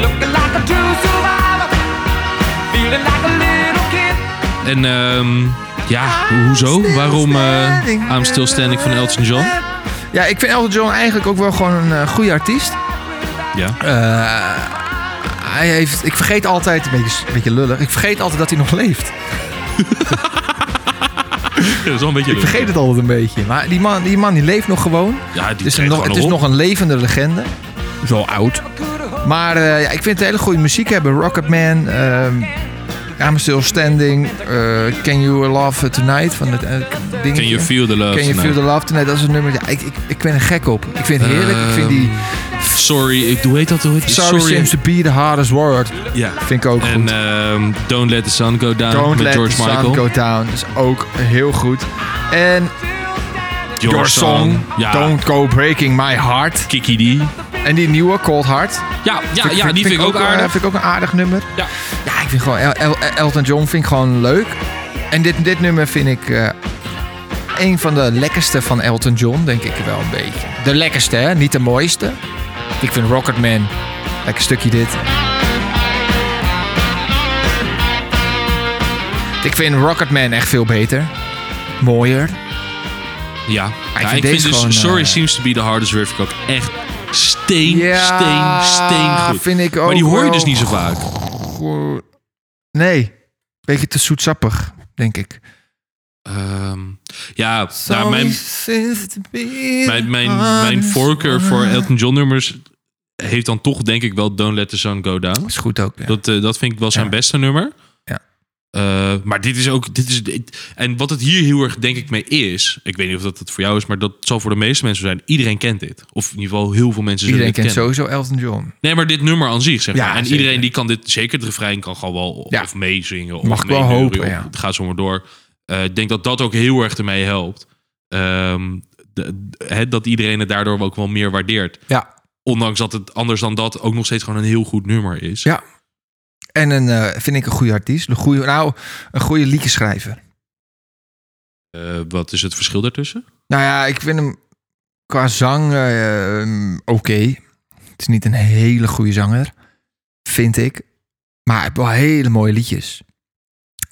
Looking like a true survivor. Feeling like a little kid. En ehm, ja, ho- hoezo? Waarom eh I'm Still Standing van Elton John? Ja, ik vind Elton John eigenlijk ook wel gewoon een eh, goede artiest. Eh, Ja. Hij heeft, ik vergeet altijd, een beetje, een beetje lullig, ik vergeet altijd dat hij nog leeft. dat is wel een beetje... Ik vergeet het altijd een beetje. Maar die man die, man, die leeft nog gewoon. Ja, Het die is, treedt nog, gewoon het is op. nog een levende legende. Zo oud. Maar eh, ja, ik vind het hele goede muziek hebben. Rocketman, ehm I'm Still Standing, eh, Can You Love Tonight van het eh, dingetje. Can you feel the love? Can You Nou, Feel the Love Tonight, dat is een nummer. Ja, ik, ik, ik ben er gek op. Ik vind het heerlijk. ik vind die Ehm, Sorry, ik, hoe heet dat? Hoe heet die? Sorry, Seems to Be the Hardest Word. Ja. Vind ik ook goed. En ehm, Don't Let the Sun Go Down Don't met Let George the Sun Michael. Go Down is ook heel goed. En Your Song, Ja. Don't Go Breaking My Heart. Kiki die. En die nieuwe, Cold Heart. Ja, ja, ja, die vind ik ook eh, aardig. vind ik ook een aardig nummer. Ja. Ja, ik vind gewoon El- El- Elton John vind ik gewoon leuk. En dit, dit nummer vind ik eh, een van de lekkerste van Elton John, denk ik wel een beetje. De lekkerste, hè? Niet de mooiste. Ik vind Rocketman. Lekker stukje dit. Ik vind Rocketman echt veel beter. Mooier. Ja, Ja, vind ik deze vind dus gewoon, Sorry eh, Seems to Be the Hardest Riff ook echt steen, Ja, steen, steen goed. vind ik maar die ook hoor je wel dus niet zo vaak. Goh. Nee, beetje te zoetsappig, denk ik. Ehm, ja, nou, mijn, mijn, mijn, mijn, mijn voorkeur Ah. voor Elton John nummers heeft dan toch denk ik wel Don't Let The Sun Go Down. Is goed ook, ja. Dat, eh, dat vind ik wel zijn Ja. beste nummer. Ja. Eh, maar dit is ook. Dit is, dit- en wat het hier heel erg, denk ik, mee is. Ik weet niet of dat het voor jou is, maar dat zal voor de meeste mensen zijn. Iedereen kent dit. Of in ieder geval heel veel mensen zullen Iedereen dit kent kennen. sowieso Elton John. Nee, maar dit nummer aan zich, zeg Ja, maar. En zeker. iedereen die kan dit, zeker het refrein, kan gewoon wel Ja. of meezingen. Of Mag ik wel meeneuren, hopen, of ja. Het gaat zomaar door. Eh, ik denk dat dat ook heel erg ermee helpt. Ehm, de- de- hè, dat iedereen het daardoor ook wel meer waardeert. Ja. Ondanks dat het anders dan dat ook nog steeds gewoon een heel goed nummer is. Ja. En een, eh, vind ik een goede artiest. Een goede, nou, een goede liedjeschrijver. Eh, wat is het verschil daartussen? Nou ja, ik vind hem qua zang eh, ehm, oké. Het is niet een hele goede zanger, vind ik. Maar hij heeft wel hele mooie liedjes.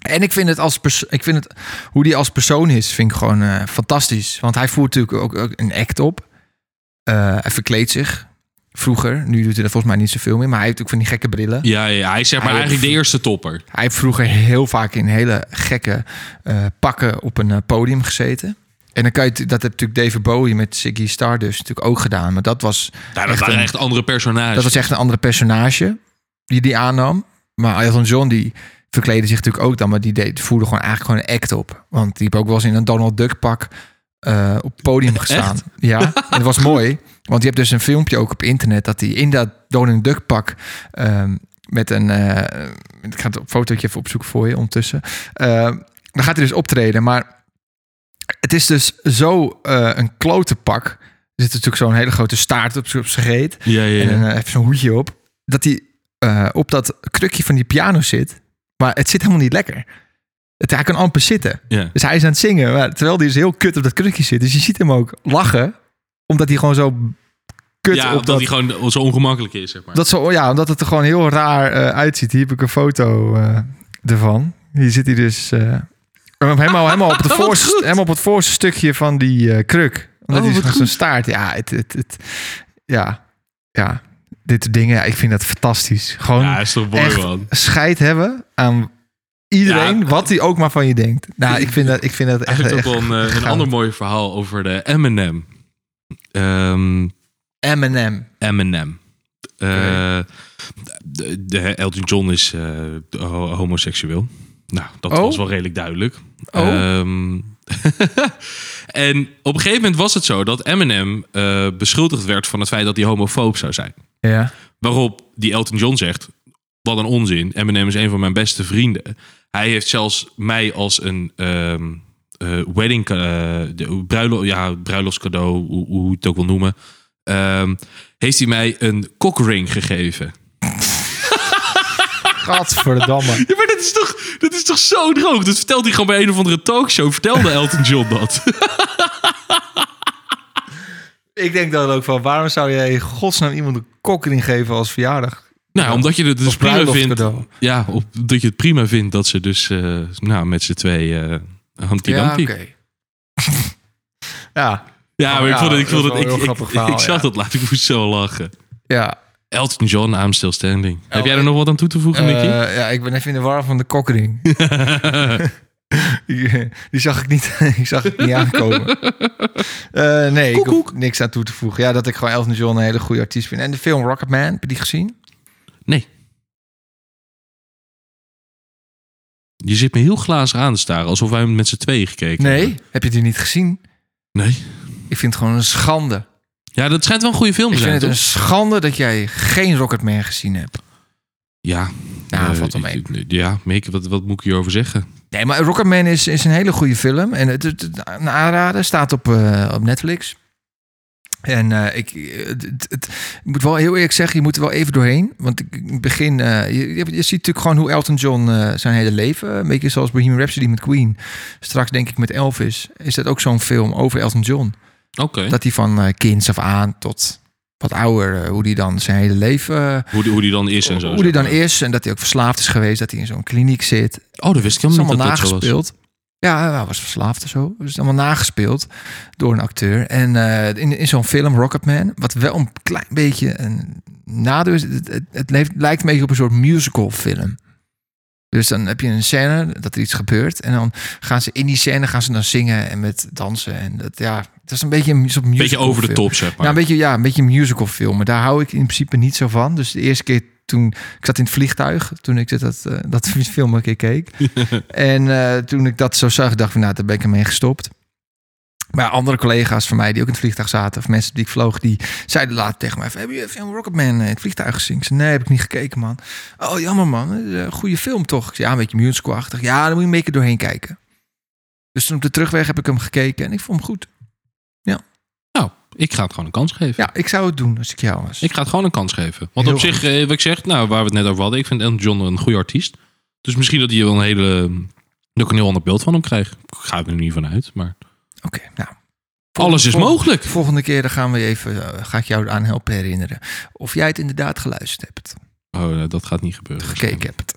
En ik vind het, als pers- ik vind het hoe die als persoon is, vind ik gewoon eh, fantastisch. Want hij voert natuurlijk ook, ook een act op. Eh, hij verkleedt zich vroeger. Nu doet hij dat volgens mij niet zoveel meer. Maar hij heeft ook van die gekke brillen. Ja, ja hij is zeg maar Hij eigenlijk de heeft- eerste topper. Hij heeft vroeger heel vaak in hele gekke eh, pakken op een eh, podium gezeten. En dan kan je, t- dat heeft natuurlijk David Bowie met Ziggy Stardust natuurlijk ook gedaan. Maar dat was, Nou, dat Echt waren een- echt andere personages. dat was echt een andere personage die die aannam. Maar Elton John die verkleedde zich natuurlijk ook dan. Maar die deed, voerde gewoon eigenlijk gewoon een act op. Want die heeft ook wel eens in een Donald Duck pak eh, op het podium gestaan. Ja, en dat was mooi. Want je hebt dus een filmpje ook op internet... dat hij in dat Donald Duck pak ehm, met een... eh, ik ga het fotootje even opzoeken voor je ondertussen. Eh, dan gaat hij dus optreden, maar het is dus zo eh, een klote pak. Er zit natuurlijk zo'n hele grote staart op z'n op z'n reet. Ja, ja, ja. En eh, even zo'n hoedje op. Dat hij eh, op dat krukje van die piano zit. Maar het zit helemaal niet lekker. Het, hij kan amper zitten. Ja. Dus hij is aan het zingen. Maar, terwijl hij dus heel kut op dat krukje zit. Dus je ziet hem ook lachen. Omdat hij gewoon zo kut Ja, op omdat dat... hij gewoon zo ongemakkelijk is, zeg maar. Dat zo, ja, omdat het er gewoon heel raar eh, uitziet. Hier heb ik een foto eh, ervan. Hier zit hij dus eh, helemaal, helemaal, op de voorste, helemaal op het voorste stukje van die eh, kruk. Omdat Oh, hij wat gewoon zo'n staart. Ja, het, het, het, ja, ja, dit soort dingen. ja, ik vind dat fantastisch. Gewoon ja, is toch mooi, echt man. scheid hebben aan iedereen, Ja. wat hij ook maar van je denkt. Nou, ik vind dat, ik vind dat echt... Eigenlijk ook echt wel een, eh, een goud. ander mooi verhaal over de Eminem. Ehm Eminem. Eminem. Eh, de, de- Elton John is eh, ho- homoseksueel. Nou, dat Oh. was wel redelijk duidelijk. Oh. Ehm, en op een gegeven moment was het zo dat Eminem eh, beschuldigd werd van het feit dat hij homofoob zou zijn. Ja. Waarop die Elton John zegt: Wat een onzin. Eminem is een van mijn beste vrienden. Hij heeft zelfs mij als een ehm, eh, wedding, eh de, bruilo, ja, bruiloftscadeau, hoe, hoe je het ook wil noemen. ehm, heeft hij mij een cockring gegeven? Gadverdamme. Ja, maar dat is toch, dat is toch zo droog? Dat vertelt hij gewoon bij een of andere talkshow. Vertelde Elton John dat. ik denk dan ook van, waarom zou jij in godsnaam iemand een kokkering geven als verjaardag? Nou, omdat je het dus Of prima vindt. bruiloftscadeau. Ja, op, dat je het prima vindt dat ze dus eh, nou, met z'n twee eh Humpty Ja, Dumpty. oké. ja, Ja, maar ik ja, vond het, ik vond dat is wel het, een ik, heel ik, grappig ik verhaal, zag ja. dat laat, ik moest zo lachen. ja. Elton John, I'm still standing. Heb jij er nog wat aan toe te voegen, Nicky? Eh, ja, ik ben even in de war van de kokkering. Eh. Die- Die zag ik niet, ik zag het niet aankomen. Eh, nee, ik hoef niks aan toe te voegen. Ja, dat ik gewoon Elton John een hele goede artiest vind. En de film Rocketman, heb je die gezien? Nee. Je zit me heel glazig aan te staren, alsof wij hem met z'n tweeën gekeken hebben. Heb je die niet gezien? Nee? Ik vind het gewoon een schande. Ja, dat schijnt wel een goede film te Ik vind zijn, het toch? een schande dat jij geen Rocketman gezien hebt. Ja. Nou, Eh, valt wel ik- Ja, Mick, wat, wat moet ik hierover zeggen? Nee, maar Rocketman is, is een hele goede film. En het, het, het- een aanrader staat op, eh, op Netflix. En eh, ik, eh, het, het- het- ik moet wel heel eerlijk zeggen, je moet er wel even doorheen. Want ik- in het begin, eh, je, je, je ziet natuurlijk gewoon hoe Elton John eh, zijn hele leven... eh, Een beetje zoals Bohemian Rhapsody met Queen. Straks denk ik met Elvis. Is dat ook zo'n film over Elton John? Oké. Dat hij van eh, kinds af aan tot wat ouder... eh, hoe die dan zijn hele leven... eh, Hoe, die- hoe die dan is en zo. hoe die zeg dan maar. is en dat hij ook verslaafd is geweest. Dat hij in zo'n kliniek zit. Oh, dat wist ik Het is helemaal niet dat allemaal dat zo was. nagespeeld. Ja, hij was verslaafd of zo. Dus allemaal nagespeeld door een acteur. En eh, in, in zo'n film Rocketman, wat wel een klein beetje een nadeel is. Het, het, het leeft, lijkt een beetje op een soort musical film. Dus dan heb je een scène dat er iets gebeurt. En dan gaan ze in die scène gaan ze dan zingen en met dansen. En dat ja, het is een beetje een soort musical Beetje over de film. top, zeg maar. Nou, een beetje, ja, een beetje musical filmen. Daar hou ik in principe niet zo van. Dus de eerste keer toen... Ik zat in het vliegtuig toen ik dit- dat, eh, dat film een keer keek. en eh, toen ik dat zo zag, dacht ik van... Nou, daar ben ik ermee gestopt. Maar andere collega's van mij die ook in het vliegtuig zaten... of mensen die ik vloog, die zeiden later tegen mij... Van, heb je film Rocketman eh, in het vliegtuig gezien? Ik zei, nee, heb ik niet gekeken, man. Oh, jammer, man. Het is een goede film, toch? Ik zei, ja, een beetje musical-achtig. Ja, dan moet je een beetje doorheen kijken. Dus toen op de terugweg heb ik hem gekeken en ik vond hem goed. Nou, ik ga het gewoon een kans geven. Ja, ik zou het doen als ik jou was. Ik ga het gewoon een kans geven. Want Heel op zich, eh, wat ik zeg, nou, waar we het net over hadden, ik vind Elton John een goede artiest. Dus misschien dat hij wel een hele. eh, dat ik een heel ander beeld van hem krijg. Ik ga er nu niet van uit, maar. Oké, nou. Alles is vol- mogelijk. Volgende keer dan gaan we je even, eh, ga ik jou aan helpen herinneren. Of jij het inderdaad geluisterd hebt, Oh, nee, dat gaat niet gebeuren. gekeken hebt.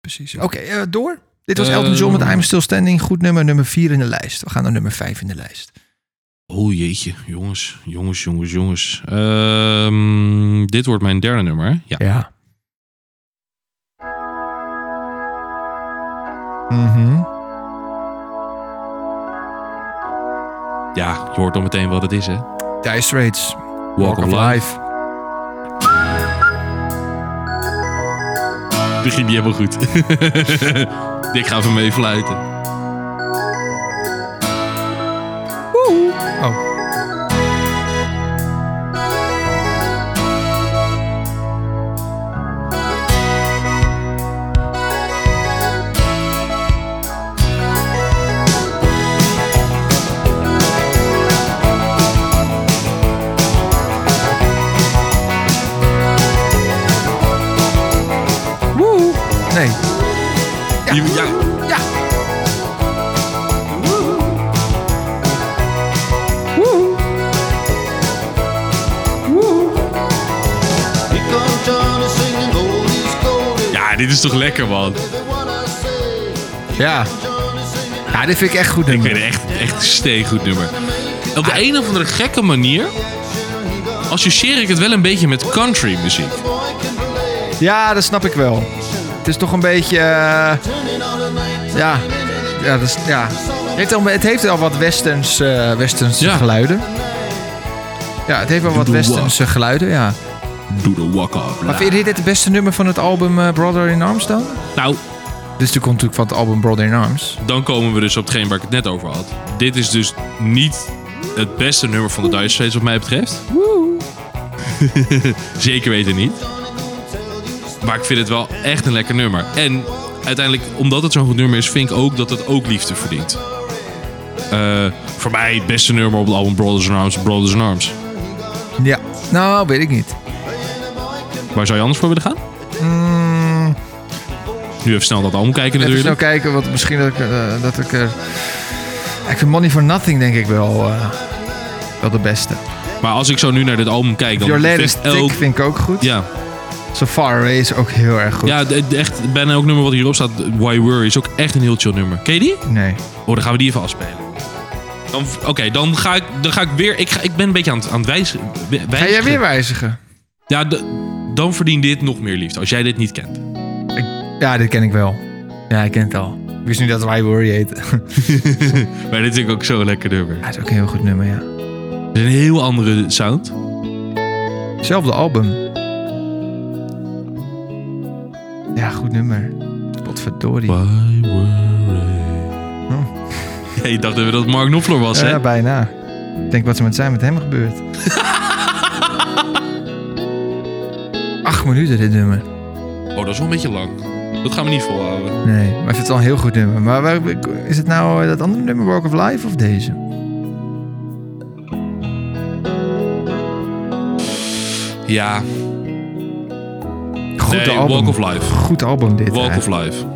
Precies. Ehm, Oké, eh, door. Dit was Elton Eh, John met I'm Still Standing. Goed nummer, nummer 4 in de lijst. We gaan naar nummer 5 in de lijst. Oh jeetje, jongens, jongens, jongens, jongens. Ehm, dit wordt mijn derde nummer. hè? Ja. Ja. Mhm. ja, je hoort al meteen wat het is, hè? Walk, Dire Straits, Walk, of Life. Begin je helemaal goed. ik ga even mee fluiten. Oh, nee. Ja. ja. Ja. Ja, dit is toch lekker, man. Ja. Ja, dit vind ik echt goed Ik nummer. vind het echt, echt een steengoed nummer. Op de een of andere gekke manier associeer ik het wel een beetje met country muziek. Ja, dat snap ik wel. Het is toch een beetje... eh, ja. Ja, dat is, ja. Het, heeft al, het heeft al wat westerns, eh, westerns Ja. geluiden. Ja, het heeft wel wat Doodle walk. westerns eh, geluiden, ja. Doe de walk up. Maar vind je dit het beste nummer van het album eh, Brother in Arms dan? Nou, Dus die komt natuurlijk van het album Brother in Arms. dan komen we dus op hetgeen waar ik het net over had. Dit is dus niet het beste nummer van de Dire Straits wat mij betreft. Zeker weten niet. Maar ik vind het wel echt een lekker nummer. En uiteindelijk, omdat het zo'n goed nummer is, vind ik ook dat het ook liefde verdient. Eh, voor mij het beste nummer op het album Brothers in Arms, Brothers in Arms. Ja. Nou, weet ik niet. Waar zou je anders voor willen gaan? Mm. Nu even snel dat album kijken Even snel natuurlijk. kijken, want misschien dat ik, eh, dat ik er... Ik vind Money for Nothing denk ik wel, eh, wel de beste. Maar als ik zo nu naar dit album kijk, dan Your vind Lettuce ik Stick elk... vind ik ook goed. Ja, So Far Away is ook heel erg goed. Ja, d- d- echt, bijna ook nummer wat hierop staat, Why Worry, is ook echt een heel chill nummer. Ken je die? Nee. Oh, dan gaan we die even afspelen. Dan- Oké, dan, ga ik, dan ga ik weer... Ik, ga, ik ben een beetje aan het, aan het wijzen. wij- Ga jij wijzigen. weer wijzigen? Ja, d- dan verdient dit nog meer liefde, als jij dit niet kent. Ja, dit ken ik wel. Ja, ik ken het al. Ik wist nu dat Why Worry heet. Dat Maar dit is natuurlijk ook zo'n lekker nummer. is ook een heel goed nummer, ja. Het is een heel andere sound. Hetzelfde album. Ja, goed nummer. Potverdorie. Why Worry... Ja, je dacht dat het Mark Knopfler was, hè? Oh. Ja, bijna. Ik denk wat er met zijn met hem gebeurt. Acht minuten dit nummer. Oh, dat is wel een beetje lang. Dat gaan we niet volhouden. Nee, maar ik vind het wel een heel goed nummer. Maar waar- is het nou eh, dat andere nummer, Walk of Life, of deze? Ja, Goed nee, album. Walk of Life. Goed album dit. Walk hè. of Life.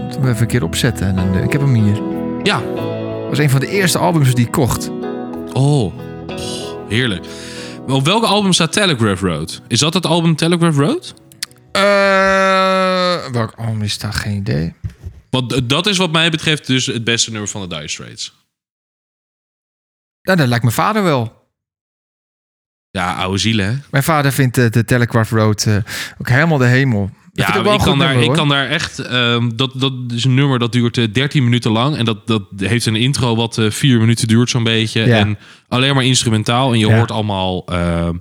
Moeten we even een keer opzetten. En dan, eh, ik heb hem hier. Het Ja, was een van de eerste albums die ik kocht. Oh, heerlijk. Maar Op welke album staat Telegraph Road? Is dat het album Telegraph Road? Eh welk album is daar? Geen idee. Want eh, dat is wat mij betreft dus het beste nummer van de Dire Straits. Ja, Nou, dat lijkt mijn vader wel. Ja, oude zielen, hè? Mijn vader vindt eh, de Telegraph Road eh, ook helemaal de hemel. vind Ja, ook wel ik een kan, goed daar, nummer, ik hoor. kan daar echt... ehm, dat, dat is een nummer dat duurt eh, 13 minuten lang. En dat, dat heeft een intro wat eh, vier minuten duurt zo'n beetje. Ja. En alleen maar instrumentaal. En je Ja. hoort allemaal ehm,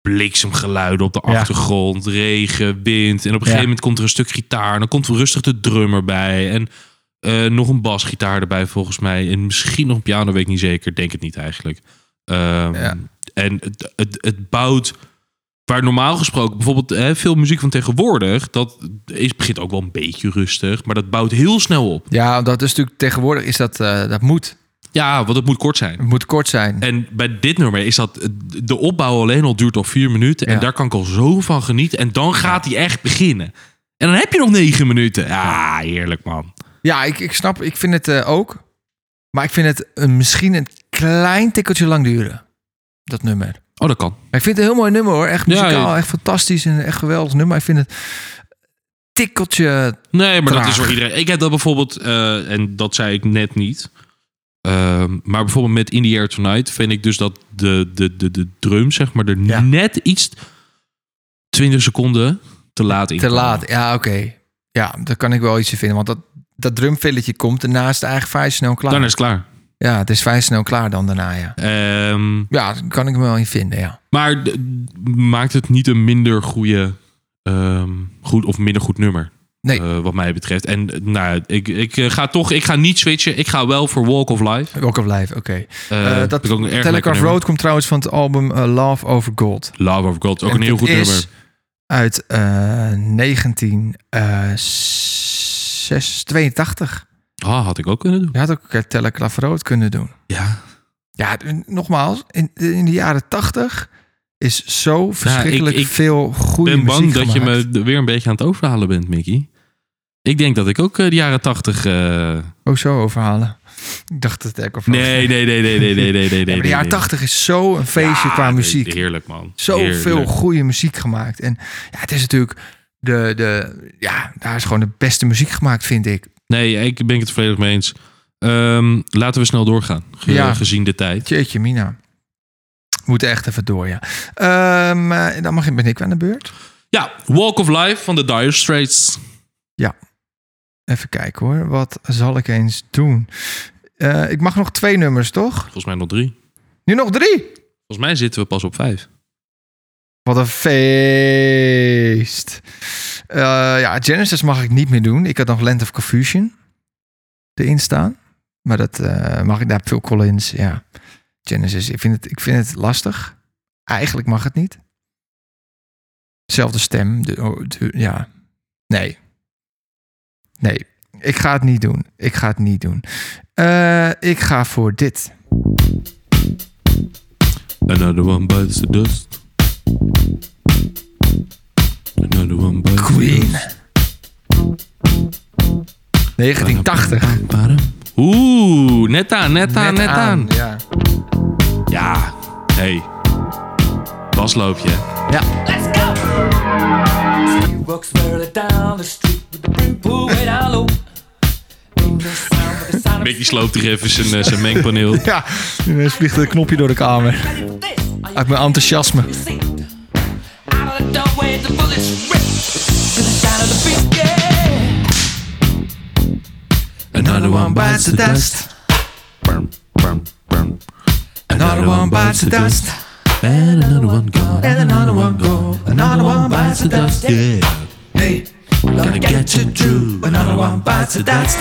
bliksemgeluiden op de Ja. achtergrond. Regen, wind. En op een gegeven moment komt er een stuk gitaar. En dan komt rustig de drummer bij. En eh, nog een basgitaar erbij volgens mij. En misschien nog een piano, weet ik niet zeker. Denk het niet eigenlijk. Ehm, Ja. En het, het, het bouwt... Waar normaal gesproken bijvoorbeeld hè, veel muziek van tegenwoordig... dat is, begint ook wel een beetje rustig... maar dat bouwt heel snel op. Ja, dat is natuurlijk tegenwoordig is dat, eh, dat moet. Ja, want het moet kort zijn. Het moet kort zijn. En bij dit nummer is dat... eh, de opbouw alleen al duurt al vier minuten... en Ja. daar kan ik al zo van genieten. En dan gaat hij echt beginnen. En dan heb je nog negen minuten. Ja, heerlijk man. Ja, ik, ik snap, ik vind het eh, ook. Maar ik vind het een- misschien een klein tikkeltje lang duren. Dat nummer. Oh, dat kan. Maar ik vind het een heel mooi nummer hoor. Echt Ja, muzikaal, ja. echt fantastisch en echt geweldig nummer. Maar ik vind het tikkeltje... Nee, maar dat is Traag. voor iedereen. Ik heb dat bijvoorbeeld, eh, en dat zei ik net niet. Ehm, maar bijvoorbeeld met In the Air Tonight vind ik dus dat de, de, de, de drum, zeg maar, er Ja. net iets 20 seconden te laat in. Te kan. laat. Ja, oké. Ja, daar kan ik wel iets in vinden. Want dat, dat drumfilletje komt daarna is het eigenlijk vrij snel klaar. Dan is het klaar. Ja, het is vrij snel klaar dan daarna, ja. Ehm, Ja, daar kan ik me wel in vinden, ja. maar d- maakt het niet een minder goede, ehm, goed of minder goed nummer. Nee. Eh, wat mij betreft. En eh, nou, ik, ik eh, ga toch, ik ga niet switchen. Ik ga wel voor Walk of Life. Walk of Life, oké. Eh, Eh, vind dat ik ook een erg lekker Telegraph nummer. Road komt trouwens van het album eh, Love Over Gold. Love of God, ook En een heel goed dat is nummer. Uit eh 1982. Ah, had ik ook kunnen doen. Je had ook eh, Telegraph Road kunnen doen. Ja, Ja, d- nogmaals, in, in de jaren 80 is zo verschrikkelijk ik- ik veel goede ben muziek bang dat je gemaakt. me d- weer een beetje aan het overhalen bent, Mickey. Ik denk dat ik ook eh, de jaren tachtig... eh, Oh, zo overhalen. Ik dacht dat ik over Nee, nee, nee, nee, nee, nee, nee, nee. Ja, maar de jaren 80 is zo een feestje qua muziek. Heerlijk, man. Zoveel goede muziek gemaakt. En ja, het is natuurlijk de, de... Ja, daar is gewoon de beste muziek gemaakt, vind ik. Nee, ik ben het volledig mee eens. Ehm, laten we snel doorgaan, ge- Ja. gezien de tijd. Jeetje, Mina. Moet echt even door, ja. Ehm, eh, dan mag ik, ben ik weer aan de beurt. Ja, Walk of Life van de Dire Straits. Even kijken hoor. Wat zal ik eens doen? Eh, ik mag nog twee nummers, toch? Volgens mij nog drie. Nu nog drie. Volgens mij zitten we pas op vijf. Wat een feest. Eh, ja, Genesis mag ik niet meer doen. Ik had nog Land of Confusion erin staan. Maar dat eh, mag ik daar Phil Collins. Ja, Genesis. Ik vind, het, ik vind het lastig. Eigenlijk mag het niet. Zelfde stem. de- oh, de- ja. Nee. Nee. Ik ga het niet doen. Ik ga het niet doen. Eh, ik ga voor dit. Another one bites the dust. Another one bites the Queen. dust. Nou, 1980. Oeh, net aan, net aan, net, Net aan. Ja. Ja, hey. Basloopje. He walks barely down the street with the brim pulled way down low. Ain't no sound but the sound of Mickey sloopt er even zijn, eh, zijn mengpaneel. Ja, ineens vliegt er een knopje door de kamer. this. Are you Uit mijn enthousiasme. seat? Out of the doorway, the bullets rip. To the sound of the beat, yeah. Another one bites the dust. Brum, brum, brum. Another one bites the dust. And another one gone. And another one gone. Another one bites the dust. Yeah. Hey, Gonna get you through. Another one bites the dust.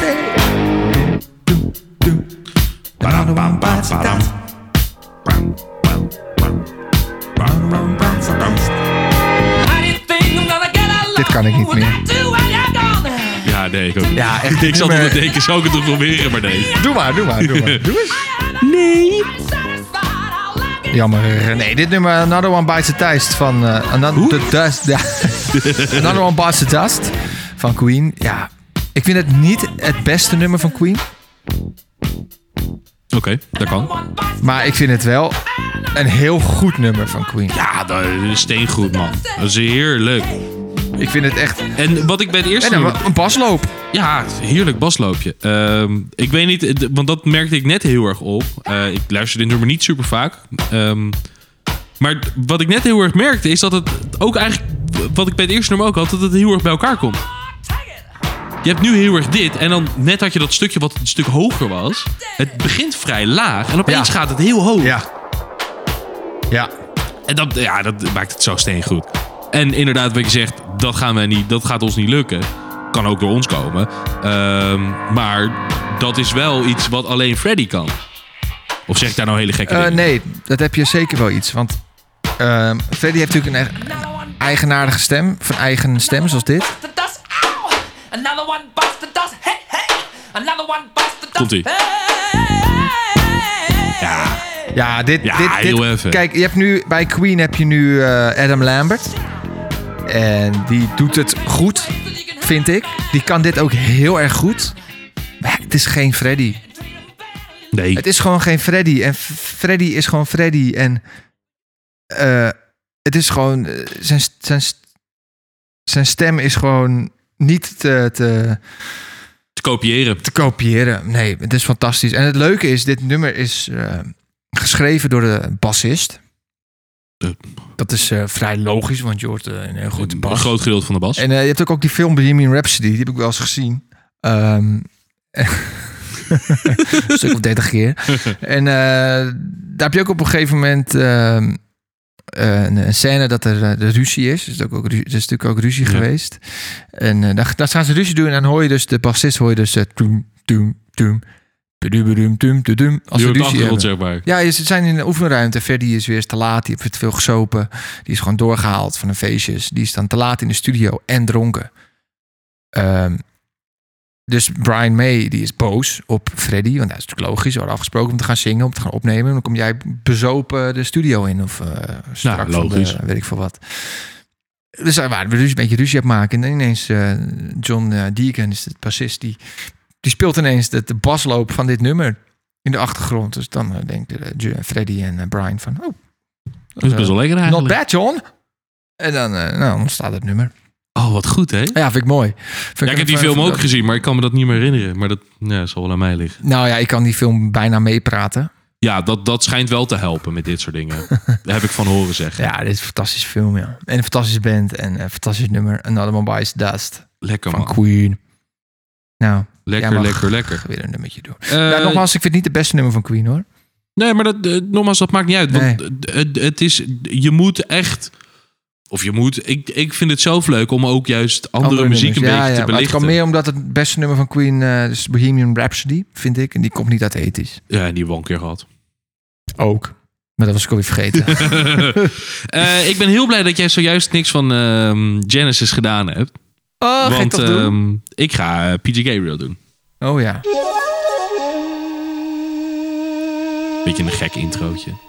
Another one bites the dust. Brum, brum, brum. Brum, brum, bites the dust. How do you think I'm gonna get along Dit kan ik niet meer. without you when you're gone? Ja, nee, ik ook. Ja, echt. Ik zat op te denken, zou ik het nog proberen, maar nee. Doe maar, doe maar, doe maar. Doe eens. I'm satisfied, I'll like it. Jammer. Nee, dit nummer Another One Bites the Dust van eh, Another the Dust. Ja. Another One Bites the Dust van Queen. Ja, ik vind het niet het beste nummer van Queen. Oké, dat kan. One bites Maar ik vind het wel een heel goed nummer van Queen. Ah, Ja, dat is steengoed, man. Dat is heerlijk. Ik vind het echt... En wat ik bij het eerste En nummer- een, een pasloop. Ja, heerlijk basloopje. Ehm, ik weet niet, d- want dat merkte ik net heel erg op. Eh, ik luister dit nummer niet super vaak. Ehm, maar d- wat ik net heel erg merkte is dat het ook eigenlijk, wat ik bij het eerste nummer ook had, dat het heel erg bij elkaar komt. Je hebt nu heel erg dit en dan net had je dat stukje wat een stuk hoger was. Het begint vrij laag en opeens Ja. gaat het heel hoog. Ja. Ja. En dat, ja, dat maakt het zo steengoed. En inderdaad, wat je zegt, dat gaan wij niet, dat gaat ons niet lukken. Kan ook door ons komen. Ehm, maar dat is wel iets wat alleen Freddy kan. Of zeg ik daar nou hele gekke Eh, dingen? nee, dat heb je zeker wel iets. Want eh, Freddy heeft natuurlijk een, e- one eigenaardige stem. Van eigen stem, zoals dit. bites the dust. Ow! Another one bites the dust. Hey, hey! Another one bites the dust. Komt-ie. Hey! Ja. Ja, dit... Ja, dit, dit- heel even. Kijk, je hebt nu, bij Queen heb je nu eh, Adam Lambert. En die doet het goed, vind ik. Die kan dit ook heel erg goed. Maar ja, het is geen Freddy. Nee. Het is gewoon geen Freddy. En F- Freddy is gewoon Freddy. En eh, het is gewoon. eh, zijn, st- zijn, st- zijn stem is gewoon niet te, te, Te kopiëren. te kopiëren. Nee, het is fantastisch. En het leuke is: dit nummer is eh, geschreven door de bassist. Eh. Dat is eh, vrij logisch, want je hoort eh, een heel goed Een bas. groot gedeelte van de bas. En eh, je hebt ook, ook die film Bohemian Rhapsody, die heb ik wel eens gezien. Ehm, een stuk of 30 keer. En eh, daar heb je ook op een gegeven moment ehm, eh, een, een scène dat er eh, de ruzie is. Er is, ook, ook ru- er is natuurlijk ook ruzie Ja. geweest. En eh daar, daar gaan ze ruzie doen en dan hoor je dus de bassist, hoor je dus eh, toem, toem, toem, tudubudum, tum, tudum, als Die wordt ze ruzie hebben. afgerond, zeg maar. Ja, ze zijn in de oefenruimte. Verdi is weer eens te laat. Die heeft te veel gesopen. Die is gewoon doorgehaald van de feestjes. Die is dan te laat in de studio en dronken. Ehm, dus Brian May die is boos op Freddy. Want dat is natuurlijk logisch. We hadden afgesproken om te gaan zingen, om te gaan opnemen. Dan kom jij bezopen de studio in. Of eh strak van de- logisch. weet ik veel wat. Dus daar waren we dus een beetje ruzie aan het maken. En ineens eh, John eh, Deacon is de bassist. Die, die speelt ineens de, de basloop van dit nummer in de achtergrond. Dus dan eh, denken eh, Ju- Freddy en eh, Brian van... Oh, Dat is best wel lekker not eigenlijk. bad, John! En dan eh, nou, ontstaat het nummer. Oh, wat goed, hè? Ja, vind ik mooi. Vind Ja, ik heb die eh, film vind ook gezien, maar ik kan me dat niet meer herinneren. Maar dat ja, zal wel aan mij liggen. Nou ja, ik kan die film bijna meepraten. Ja, dat, dat schijnt wel te helpen met dit soort dingen. Daar heb ik van horen zeggen. Ja, dit is een fantastische film, ja. En een fantastische band en een fantastisch nummer. Another One Bites the Dust Lekker, van man. Queen. Nou, Lekker, jij mag lekker, lekker. weer een nummertje doen. Eh, ja, nogmaals, ik vind het niet het beste nummer van Queen, hoor. Nee, maar dat, eh, nogmaals, dat maakt niet uit. Want Nee. het- het, het is, je moet echt. Of je moet. Ik, ik vind het zelf leuk om ook juist andere, muziek een nummers. Ja, beetje te ja, maar het belichten. kwam meer omdat het beste nummer van Queen eh is Bohemian Rhapsody, vind ik. En die komt niet uit ethisch. Ja, die hebben we al een keer gehad. Ook. Maar dat was ik alweer vergeten. Eh, ik ben heel blij dat jij zojuist niks van ehm, Genesis gedaan hebt. oh, ga je want toch doen? ehm, ik ga eh, PG Gabriel doen. Oh ja. Beetje een gek introotje.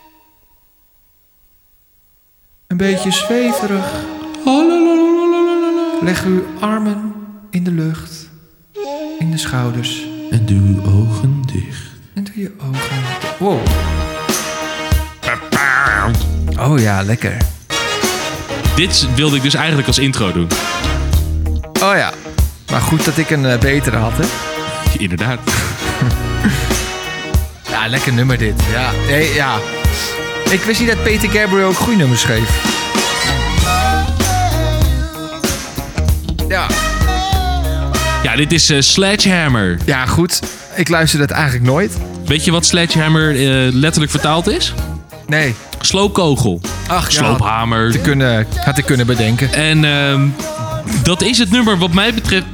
Een beetje zweverig. Leg uw armen in de lucht, in de schouders En doe uw ogen dicht. en doe je ogen. Wow. Oh ja, lekker. Dit wilde ik dus eigenlijk als intro doen. Oh ja. Maar goed dat ik een eh, betere had, hè? Inderdaad. Ja, lekker nummer dit. Ja. Nee, ja. Ik wist niet dat Peter Gabriel ook goede nummers schreef. Ja. Ja, dit is eh, Sledgehammer. ja, goed. Ik luister dat eigenlijk nooit. Weet je wat Sledgehammer eh, letterlijk vertaald is? Nee. Sloopkogel. Ach, Sloophamer. Te kunnen, had ik kunnen bedenken. En ehm, dat is het nummer wat mij betreft...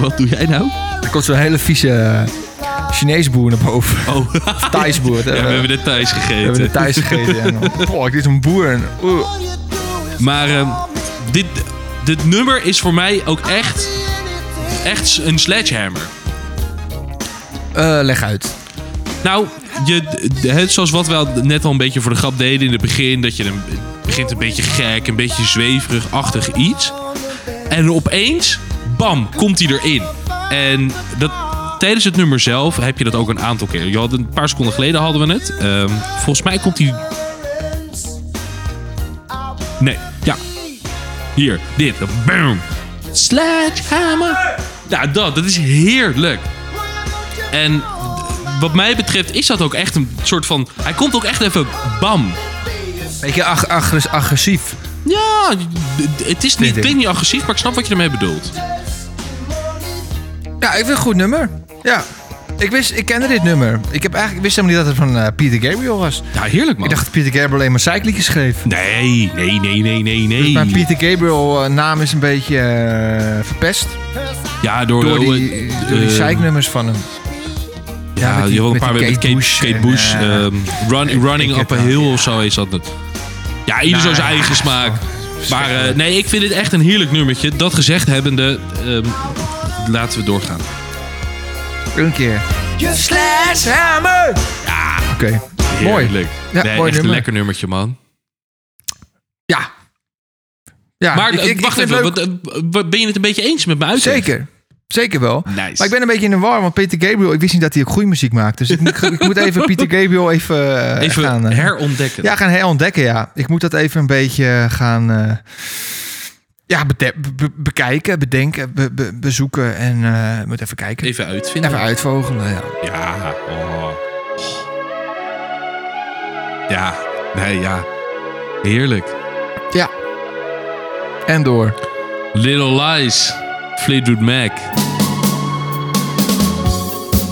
Wat doe jij nou? Er komt zo'n hele vieze eh, Chinees boer naar boven. Oh, Of Thais boer. ja, we hebben dit thuis we hebben gegeten. het Thais gegeten. En, dan, Poh, ik dit is een boer. En, oeh. Maar ehm, dit, dit nummer is voor mij ook echt, echt een sledgehammer. Eh, leg uit. Nou, je, het, zoals wat we al net al een beetje voor de grap deden in het begin... dat je een, het begint een beetje gek, een beetje zweverig-achtig iets. En opeens, bam, komt hij erin. En dat, tijdens het nummer zelf heb je dat ook een aantal keer. Je had, een paar seconden geleden hadden we het. Ehm, volgens mij komt hij... Nee, ja. Hier, dit. Bam. Sledgehammer. Nou, dat, dat is heerlijk. En wat mij betreft is dat ook echt een soort van... Hij komt ook echt even bam. Beetje ag agres- agressief. Ja, d- d- het is niet, ik. klinkt niet agressief, maar ik snap wat je ermee bedoelt. Ja, ik vind het een goed nummer. Ja. Ik, wist, ik kende dit nummer. Ik, heb eigenlijk, ik wist helemaal niet dat het van eh, Peter Gabriel was. Ja, heerlijk man. Ik dacht dat Peter Gabriel alleen maar cycliedjes schreef. Nee, nee, nee, nee, nee, nee. Maar Peter Gabriel eh, naam is een beetje eh, verpest. ja, door, Door hoe- die, door die eh, zeiknummers van hem. Ja, met die- je hebt ook een met paar die met Kate Kate Bush Bush. Kate en, Bush eh, ehm, run, running ik Up a het wel, Hill of zo is dat. het. Ja, ieder zo zijn Nou, eigen ja, smaak. Maar eh, verschrikkelijk. nee, ik vind dit echt een heerlijk nummertje. Dat gezegd hebbende, ehm, laten we doorgaan. Een keer. Sledgehammer! Ja. Oké. Mooi. Heerlijk. Ja, nee, mooi echt een nummer. lekker nummertje, man. Ja. Ja, Maar Ah, ik- eh, ik- ik wacht vind het even, leuk. wat, eh, wat- ben je het een beetje eens met mijn uitleg? Zeker. Zeker wel. Nice. Maar ik ben een beetje in de war, want Peter Gabriel, ik wist niet dat hij ook goede muziek maakt. Dus ik moet, ik moet even Peter Gabriel even, eh, Even gaan, eh, herontdekken. ja, gaan herontdekken. Ja. Ik moet dat even een beetje eh, gaan eh, ja, bede- be- bekijken, bedenken, be- be- bezoeken en eh, moet even kijken. Even uitvinden. Even uitvogelen. Ja. Ja. oh. Ja. Nee, ja. Heerlijk. ja. En door. Little Lies, Fleetwood Mac.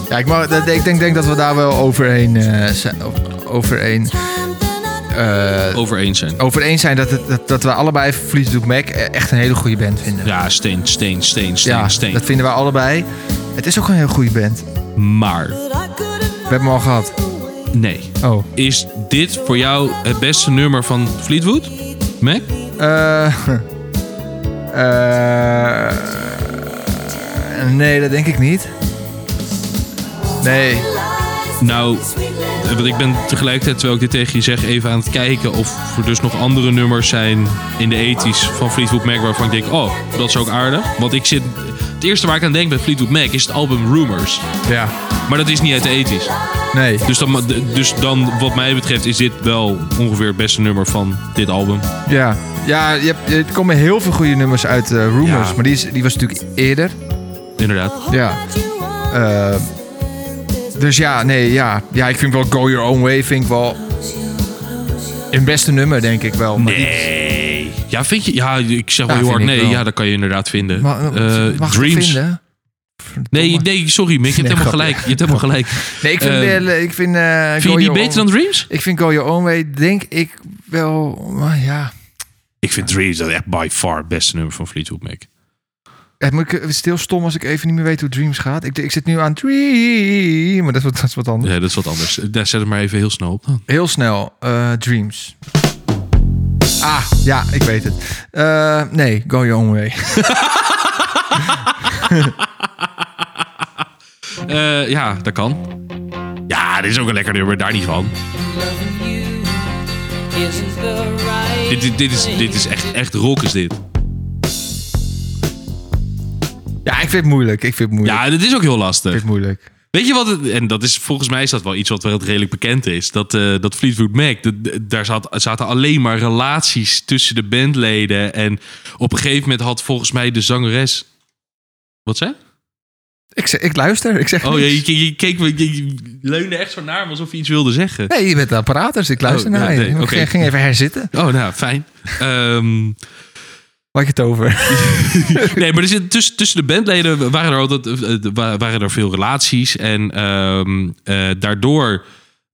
Ja, ik, mag, dat- ik denk, denk dat we daar wel overheen, eh, zijn, o- overheen, eh, Over eens zijn. over eens zijn dat, het, dat, dat we allebei Fleetwood Mac eh, echt een hele goede band vinden. Ja, steen, steen, steen, steen, Ja, steen. dat vinden wij allebei. Het is ook een heel goede band. We Maar, hebben hem al gehad. nee. Oh. Is dit voor jou het beste nummer van Fleetwood? Mac? Eh, eh, nee, dat denk ik niet. Nee. Nou, eh, want ik ben tegelijkertijd, terwijl ik dit tegen je zeg, even aan het kijken of er dus nog andere nummers zijn in de ethisch van Fleetwood Mac waarvan ik denk, oh, dat is ook aardig. Want ik zit, het eerste waar ik aan denk bij Fleetwood Mac is het album Rumors. Ja. Maar dat is niet uit de ethisch. Nee. Dus dan, dus dan, wat mij betreft, is dit wel ongeveer het beste nummer van dit album. Ja. Ja, je hebt, er komen heel veel goede nummers uit eh, Rumors. Ja. Maar die, is, die was natuurlijk eerder. Inderdaad. Ja. Eh, dus ja, nee, ja. Ja, ik vind wel Go Your Own Way vind ik wel... Een beste nummer, denk ik wel. Maar die- Nee. Ja, vind je? Ja, ik zeg wel Ja, heel hard vind ik nee. wel. Ja, dat kan je inderdaad vinden. Maar, Eh, mag ik Dreams. vinden? Nee, nee, sorry, Mick. Je hebt helemaal Nee, grapje. gelijk. Je hebt helemaal gelijk. Nee, ik vind... Eh, wel, eh, ik vind, eh, Vind je Go die Your beter Own- dan Dreams? Ik vind Go Your Own Way, denk ik wel... Maar ja... Ik vind Dreams dat echt by far het beste nummer van Fleetwood Mac. Het moet ik het is stil stom als ik even niet meer weet hoe Dreams gaat. Ik, ik zit nu aan Dream, maar dat is wat, dat is wat anders. Ja, dat is wat anders. Daar zet het maar even heel snel op dan. Heel snel, eh, Dreams. Ah, ja, ik weet het. Eh, nee, Go Your Own Way. Eh, ja, dat kan. Ja, dit is ook een lekker nummer. Daar niet van. Dit, dit, dit is, dit is echt, echt rock is dit. Ja, ik vind het moeilijk. Ik vind het moeilijk. Ja, dit is ook heel lastig. Ik vind het moeilijk. Weet je wat het, en dat is volgens mij is dat wel iets wat wel redelijk bekend is. Dat, eh, dat Fleetwood Mac, dat- dat- daar zat, zaten alleen maar relaties tussen de bandleden. En op een gegeven moment had volgens mij de zangeres. Wat zei? Ik, zeg, ik luister, ik zeg Oh ja, niks. je, ke- je keek, me- je, je leunde echt zo naar me alsof je iets wilde zeggen. Nee, je bent de apparatus, ik luister Oh, ja, naar je. nee, ik oké. ging- ging even herzitten. Oh, nou, fijn. Ehm, Waar had je het over? nee, maar er zit, tussen, tussen de bandleden waren er, altijd, eh, eh, wa- waren er veel relaties. En ehm, eh, daardoor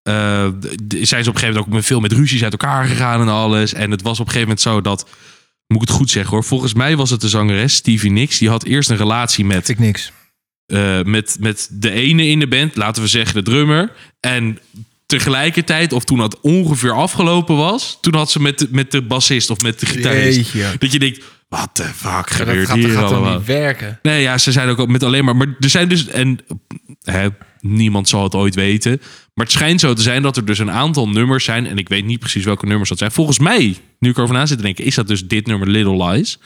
eh, d- zijn ze op een gegeven moment ook met veel met ruzies uit elkaar gegaan en alles. En het was op een gegeven moment zo dat, moet ik het goed zeggen hoor. Volgens mij was het de zangeres Stevie Nicks. Die had eerst een relatie met Ik niks. eh, met, met de ene in de band, laten we zeggen de drummer. En tegelijkertijd, of toen dat ongeveer afgelopen was, toen had ze met de, met de bassist of met de gitarist. Jeetje. Dat je denkt, wat de fuck Ja, gebeurt dat hier gaat toch allemaal? niet werken? Nee, ja, ze zijn ook al met alleen maar. Maar er zijn dus. En hè, niemand zal het ooit weten. Maar het schijnt zo te zijn dat er dus een aantal nummers zijn. En ik weet niet precies welke nummers dat zijn. Volgens mij, nu ik erover na zit te denken, is dat dus dit nummer Little Lies.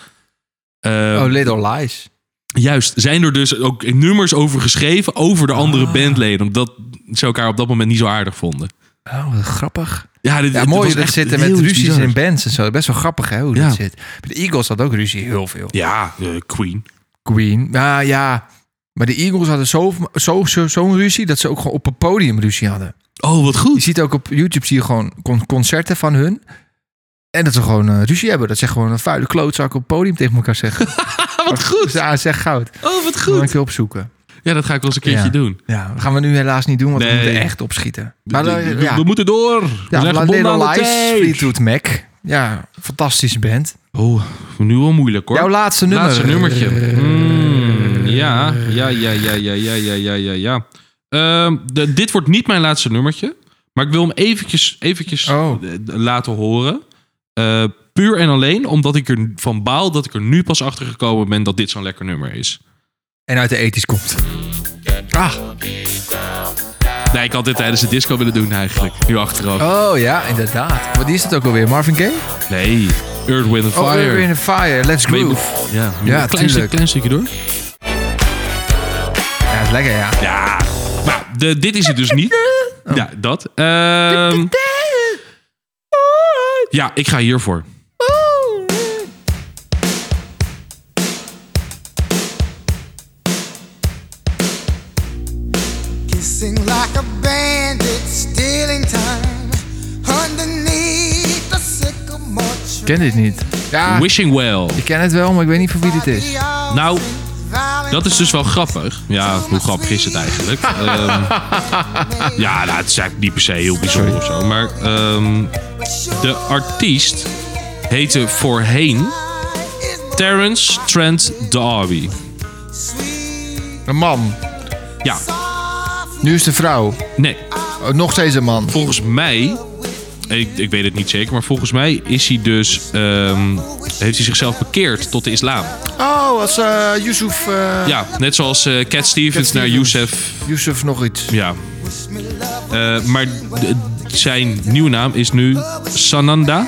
Eh, Oh, Little Lies. Juist, zijn er dus ook nummers over geschreven Ah. over de andere bandleden. Omdat ze elkaar op dat moment niet zo aardig vonden. Oh, wat grappig. Ja, dit, Ja, dit mooi was dat echt zitten heel met iets ruzies bizars. in bands en zo. Best wel grappig hè, hoe Ja. dat zit. Bij de Eagles had ook ruzie heel veel. Ja, eh, Queen. Queen. Ja, ja. Maar de Eagles hadden zo'n zo, zo, zo'n ruzie dat ze ook gewoon op een podium ruzie hadden. Oh, wat Je goed. ziet ook op YouTube zie je gewoon con- concerten van hun. En dat ze gewoon eh, ruzie hebben. Dat ze gewoon een vuile klootzak op het podium tegen elkaar zeggen. Wat goed. Ja, zeg goud. Oh, wat Moet ik goed. een keer opzoeken. Ja, dat ga ik wel eens een keertje Ja. doen. Ja, dat gaan we nu helaas niet doen, want Nee. we moeten echt opschieten. Maar We- eh, we, ja, we moeten door. we ja, zijn gebonden aan Little de Lies, tijd. Fleetwood Mac. Ja, fantastische band. Oh, nu wel moeilijk hoor. Jouw laatste nummer. Eh. Laatste nummertje. Mm, ja, ja, ja, ja, ja, ja, ja, ja, ja, ja. Ehm, de- dit wordt niet mijn laatste nummertje. Maar ik wil hem eventjes, eventjes Oh. eh, laten horen. Eh, puur en alleen omdat ik ervan baal dat ik er nu pas achter gekomen ben dat dit zo'n lekker nummer is. En uit de ethisch komt. Ah, Nee, ik had dit tijdens de disco willen doen eigenlijk. Nu achteraf. oh ja, inderdaad. Wat is dat ook alweer? Marvin Gaye? Nee, Earth, Wind and Oh, Fire. Earth, Wind and Fire. Let's Maar je moet- groove. ja, je moet Ja, een klein, stuk, tuurlijk. klein stukje door. Ja, is lekker ja. Ja, nou, de, dit is het dus niet. Oh. Ja, dat. Ehm, ja, ik ga hiervoor. Kissing like a bandit, stealing time underneath the sycamore tree. Ik ken dit niet. Ja, Wishing Well. ik ken het wel, maar ik weet niet van wie dit is. Nou, dat is dus wel grappig. Ja, hoe grappig is het eigenlijk? Ehm, ja, nou, het is eigenlijk niet per se heel bijzonder of zo. Maar ehm, de artiest heette voorheen Terence Trent D'Arby. Een man. Ja, Nu is de vrouw. nee. Oh, nog steeds een man. volgens mij, ik, ik weet het niet zeker, maar volgens mij is hij dus, ehm, heeft hij zichzelf bekeerd tot de islam. Oh, als eh Yusuf... eh, Ja, net zoals eh Cat Stevens Cat naar Stevens. Youssef. Yusuf nog iets. Ja. Eh, maar d- zijn nieuwe naam is nu Sananda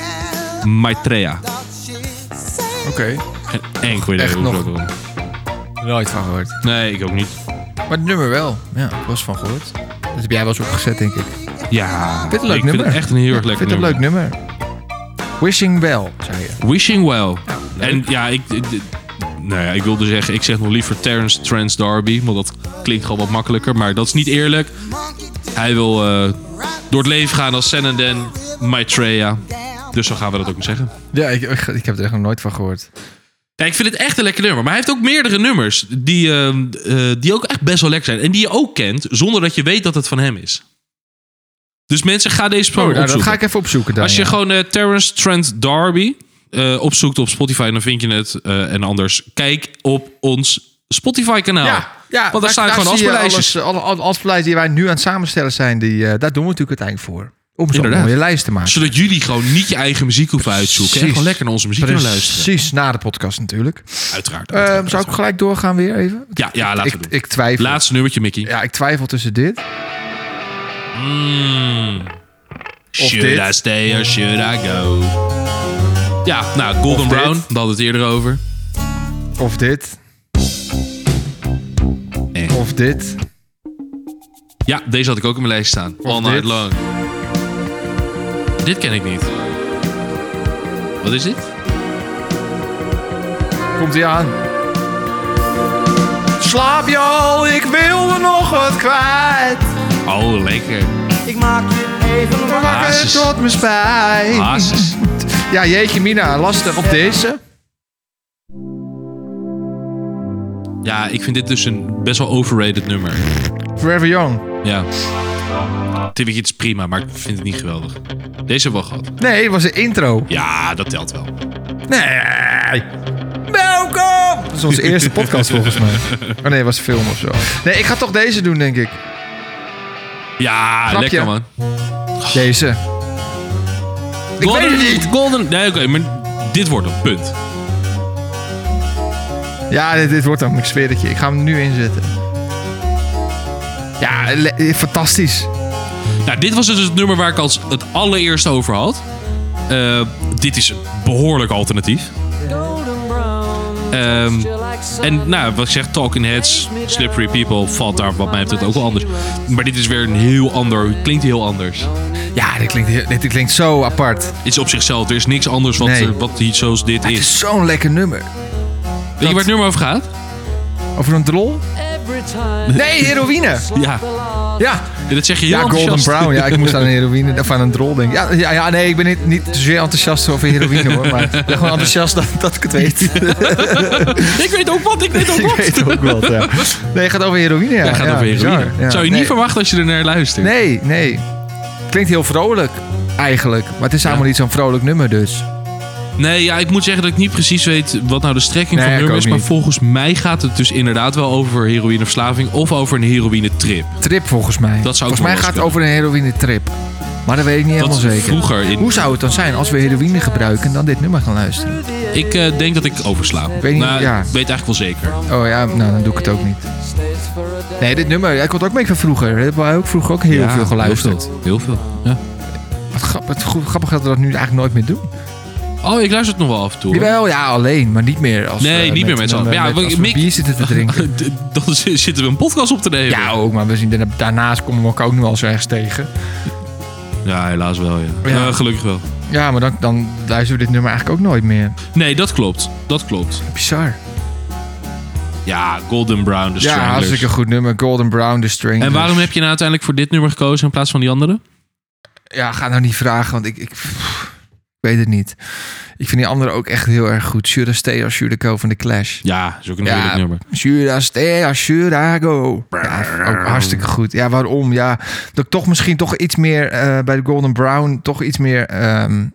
Maitreya. Oké. Geen enkel idee Echt hoe ik nog. dat wil. Nooit van gehoord. Nee, ik ook niet. Maar het nummer wel. Ja, ik was van gehoord. Dat heb jij wel eens opgezet, denk ik. Ik Ja, vind het een leuk ik nummer. vind het echt een heel erg Ja, lekker Ik vind het nummer. een leuk nummer. Wishing Well, zei je. Wishing Well. en ja, ik, ik- nou ja, ik wilde zeggen, ik zeg nog liever Terence Trans Darby, want dat klinkt gewoon wat makkelijker, maar dat is niet eerlijk. Hij wil eh, door het leven gaan als Senenden Maitreya. Dus zo gaan we dat ook niet zeggen. Ja, ik, ik, ik heb er echt nog nooit van gehoord. Ja, ik vind het echt een lekker nummer. Maar hij heeft ook meerdere nummers die, ehm, eh, die ook echt best wel lekker zijn. En die je ook kent, zonder dat je weet dat het van hem is. Dus mensen, ga deze Oh, persoon nou, dat opzoeken. ga ik even opzoeken dan. Als je ja. gewoon eh, Terence Trent Darby eh, opzoekt op Spotify, dan vind je het. Eh, en anders, kijk op ons Spotify-kanaal. Ja, ja Want daar staan gewoon zie je afspeellijstjes. alles- Alle, alle afspeellijsten die wij nu aan het samenstellen zijn, die, eh, daar doen we natuurlijk uiteindelijk voor. Om zo'n Inderdaad. mooie lijst te maken. Zodat jullie gewoon niet je eigen muziek hoeven uitzoeken. En Precies. gewoon lekker naar onze muziek kunnen luisteren. Precies, na de podcast natuurlijk. Uiteraard. Ehm, uiteraard, zou ik gelijk doorgaan weer even? Ja, ja, laten ik, we doen. ik twijfel. Laatste nummertje, Mickey. Ja, ik twijfel tussen dit. Should dit. I stay or should I go? Ja, nou, Golden dit. Brown, daar hadden we het eerder over. Of dit. Eh. Of dit. Ja, deze had ik ook in mijn lijst staan. All dit. Night Long. Dit ken ik niet. Wat is dit? Komt ie aan. Slaap je al, ik wilde nog wat kwijt. Oh, lekker. Ik maak je even wakker. Hazes. Wakker tot mijn spijt. Ah. Hazes. Ja, jeetje Mina, lastig op deze. Ja, ik vind dit dus een best wel overrated nummer. Forever Young. Ja. Tibbetje, het is prima, maar ik vind het niet geweldig. Deze hebben we al gehad. Nee, het was de intro. Ja, dat telt wel. Nee. Welkom! Dat is onze eerste podcast volgens mij. Oh nee, het was een film of zo. Nee, ik ga toch deze doen, denk ik. Ja, Grapje. lekker man. Deze. Ik weet het niet. Golden. Nee, oké, maar dit wordt een punt. Ja, dit, dit wordt hem. Ik zweer het je. Ik ga hem nu inzetten. Ja, le- eh, fantastisch. Nou, dit was dus het nummer waar ik als het allereerst over had. Eh, dit is een behoorlijk alternatief. Ehm, En nou, wat ik zeg, Talking Heads, Slippery People valt daar wat mij betreft ook wel anders. Maar dit is weer een heel ander, klinkt heel anders. Ja, dit klinkt, heel- dit klinkt zo apart. Het is op zichzelf, er is niks anders wat, Nee. eh, wat iets zoals dit Het is. is zo'n lekker nummer. Weet je waar het nummer over gaat? Over een drol? Nee, heroïne. Ja, Ja, en dat zeg je heel ja Golden enthousiast. Brown. Ja, ik moest aan een heroïne of aan een drol denken. Ja, ja, ja nee, ik ben niet, niet zozeer enthousiast over heroïne hoor. Maar ik ben gewoon enthousiast dat, dat ik het weet. Dus Ik weet ook wat, ik weet ook ik wat. weet ook wel. Ja. Nee, het gaat over heroïne. Ja, Ja, gaat over bizar. heroïne. Ja, Zou je nee. niet verwachten als je er naar luistert. Nee, nee. Klinkt heel vrolijk eigenlijk. Maar het is helemaal niet zo'n vrolijk nummer dus. Nee, ja, ik moet zeggen dat ik niet precies weet wat nou de strekking Nee, van het ik nummer is. ook Maar niet. volgens mij gaat het dus inderdaad wel over heroïneverslaving of over een heroïnetrip. Trip volgens mij. Dat zou ook volgens mij nog gaat het wel eens over een heroïne trip. Maar dat weet ik niet Dat helemaal zeker. vroeger in- Hoe zou het dan zijn als we heroïne gebruiken en dan dit nummer gaan luisteren? Ik eh, denk dat ik oversla. Ik weet niet, nou, ja. ik weet eigenlijk wel zeker. Oh ja, nou dan doe ik het ook niet. Nee, dit nummer, ja, ik had ook mee van vroeger. Dat hebben wij ook vroeger ook heel Ja, veel geluisterd. Heel veel. Heel veel. Ja. Wat grap- wat goed- grappig dat we dat nu eigenlijk nooit meer doen. Oh, ik luister het nog wel af en toe. hoor. Jawel, ja, alleen, maar niet meer als Nee, we niet meer met z'n een, allen. Ja, met- we- als we Mick- bier zitten te drinken. D- Dan z- zitten we een podcast op te nemen. ja, ook, maar we zien, daarna- daarnaast komen we elkaar ook nog wel eens ergens tegen. Ja, helaas wel, ja. Ja. Eh, gelukkig wel. Ja, maar dan, dan luisteren we dit nummer eigenlijk ook nooit meer. Nee, dat klopt. Dat klopt. Bizar. Ja, Golden Brown, de Ja, Stranglers. hartstikke goed dus. nummer. Golden Brown, The Stranglers. En waarom heb je nou uiteindelijk voor dit nummer gekozen in plaats van die andere? Ja, ga nou niet vragen, want ik, ik, pff, ik weet het niet. Ik vind die andere ook echt heel erg goed. Should I Stay or Should I Go van The Clash. Ja, is ook een Ja. heerlijk nummer. Should I stay or should I go? Ja, ook hartstikke goed. Ja, waarom? Ja, dat ik toch misschien toch iets meer eh, bij de Golden Brown... toch iets meer ehm,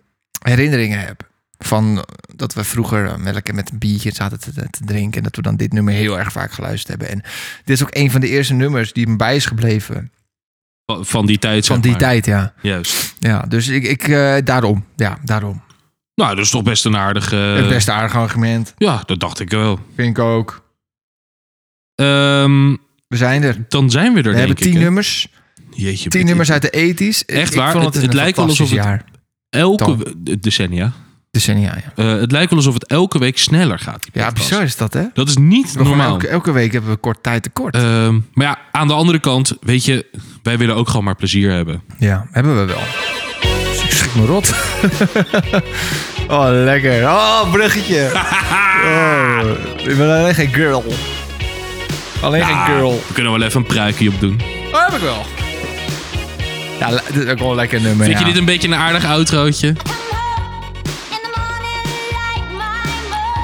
herinneringen heb. Van dat we vroeger eh, met, elkaar met een biertje zaten te, te drinken... en dat we dan dit nummer heel erg vaak geluisterd hebben. En dit is ook een van de eerste nummers die me bij is gebleven. Van- Van die tijd, zeg Van die maar. tijd, ja. Juist. Ja, dus ik, ik eh, daarom. Ja, daarom. Nou, dat is toch best een aardige... Het beste aardig argument. Ja, dat dacht ik wel. Vind ik ook. Ehm, We zijn er. dan zijn we er, We denk hebben ik. tien hè. nummers. Jeetje, Tien Piet. nummers uit de 80s. Ik- Echt ik waar, vond het- het een lijkt wel alsof fantastisch het- jaar. Elke... Dan. we- Decennia. Decennia, ja. Eh, het lijkt wel alsof het elke week sneller gaat. die Ja, podcast. bizar is dat, hè? We Dat is niet gaan normaal. Elke, elke week hebben we kort tijd tekort. Ehm, maar ja, aan de andere kant, weet je, wij willen ook gewoon maar plezier hebben. ja, hebben we wel. Ik schrik me rot. oh, lekker. Oh, bruggetje. Oh, ik ben alleen geen girl. Alleen geen girl. We kunnen wel even een pruikje op doen. Oh, heb ik wel. Ja, le- dit is ook wel een lekker nummer. Vind je ja. dit een beetje een aardig outrootje?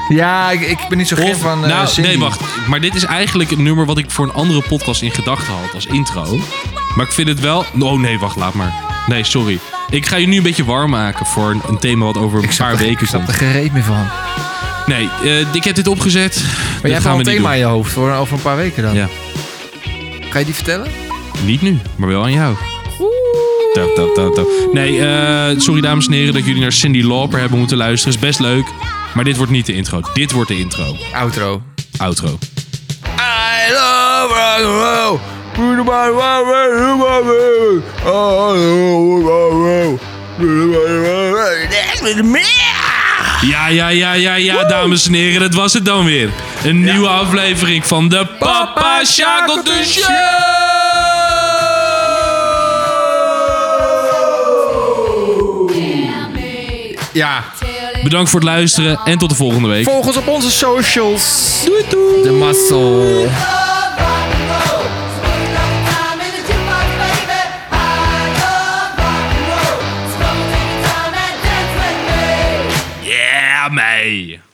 Ja, ik, ik ben niet zo gek van eh nou, Cindy. nee, wacht. Maar dit is eigenlijk een nummer wat ik voor een andere podcast in gedachten had als intro. Maar ik vind het wel... Oh nee, wacht, laat maar. Nee, sorry. Ik ga je nu een beetje warm maken voor een, een thema wat over een snap paar er- weken Ik snap er komt. geen reet meer van. Nee, eh, ik heb dit opgezet. Maar jij dat hebt al gaan een we niet thema in doen. je hoofd voor over een paar weken dan. Ja. Ga je die vertellen? Niet nu, maar wel aan jou. Tap, tap, tap, tap. Nee, eh, sorry dames en heren dat jullie naar Cindy Lauper hebben moeten luisteren. Is best leuk. Maar dit wordt niet de intro. Dit wordt de intro. Outro. Outro. I love rock and roll. Put it by my way, do my way. I love rock and roll. Put it by my way. Dance with me. Ja, ja, ja, ja, ja, dames en heren. Dat was het dan weer. Een nieuwe aflevering van de Papa Shackleton Ja, Bedankt voor het luisteren en tot de volgende week. volg ons op onze socials. Doei doei. De muscle. Baby, I love rock and roll. So come take your time and dance with me. Yeah, mee.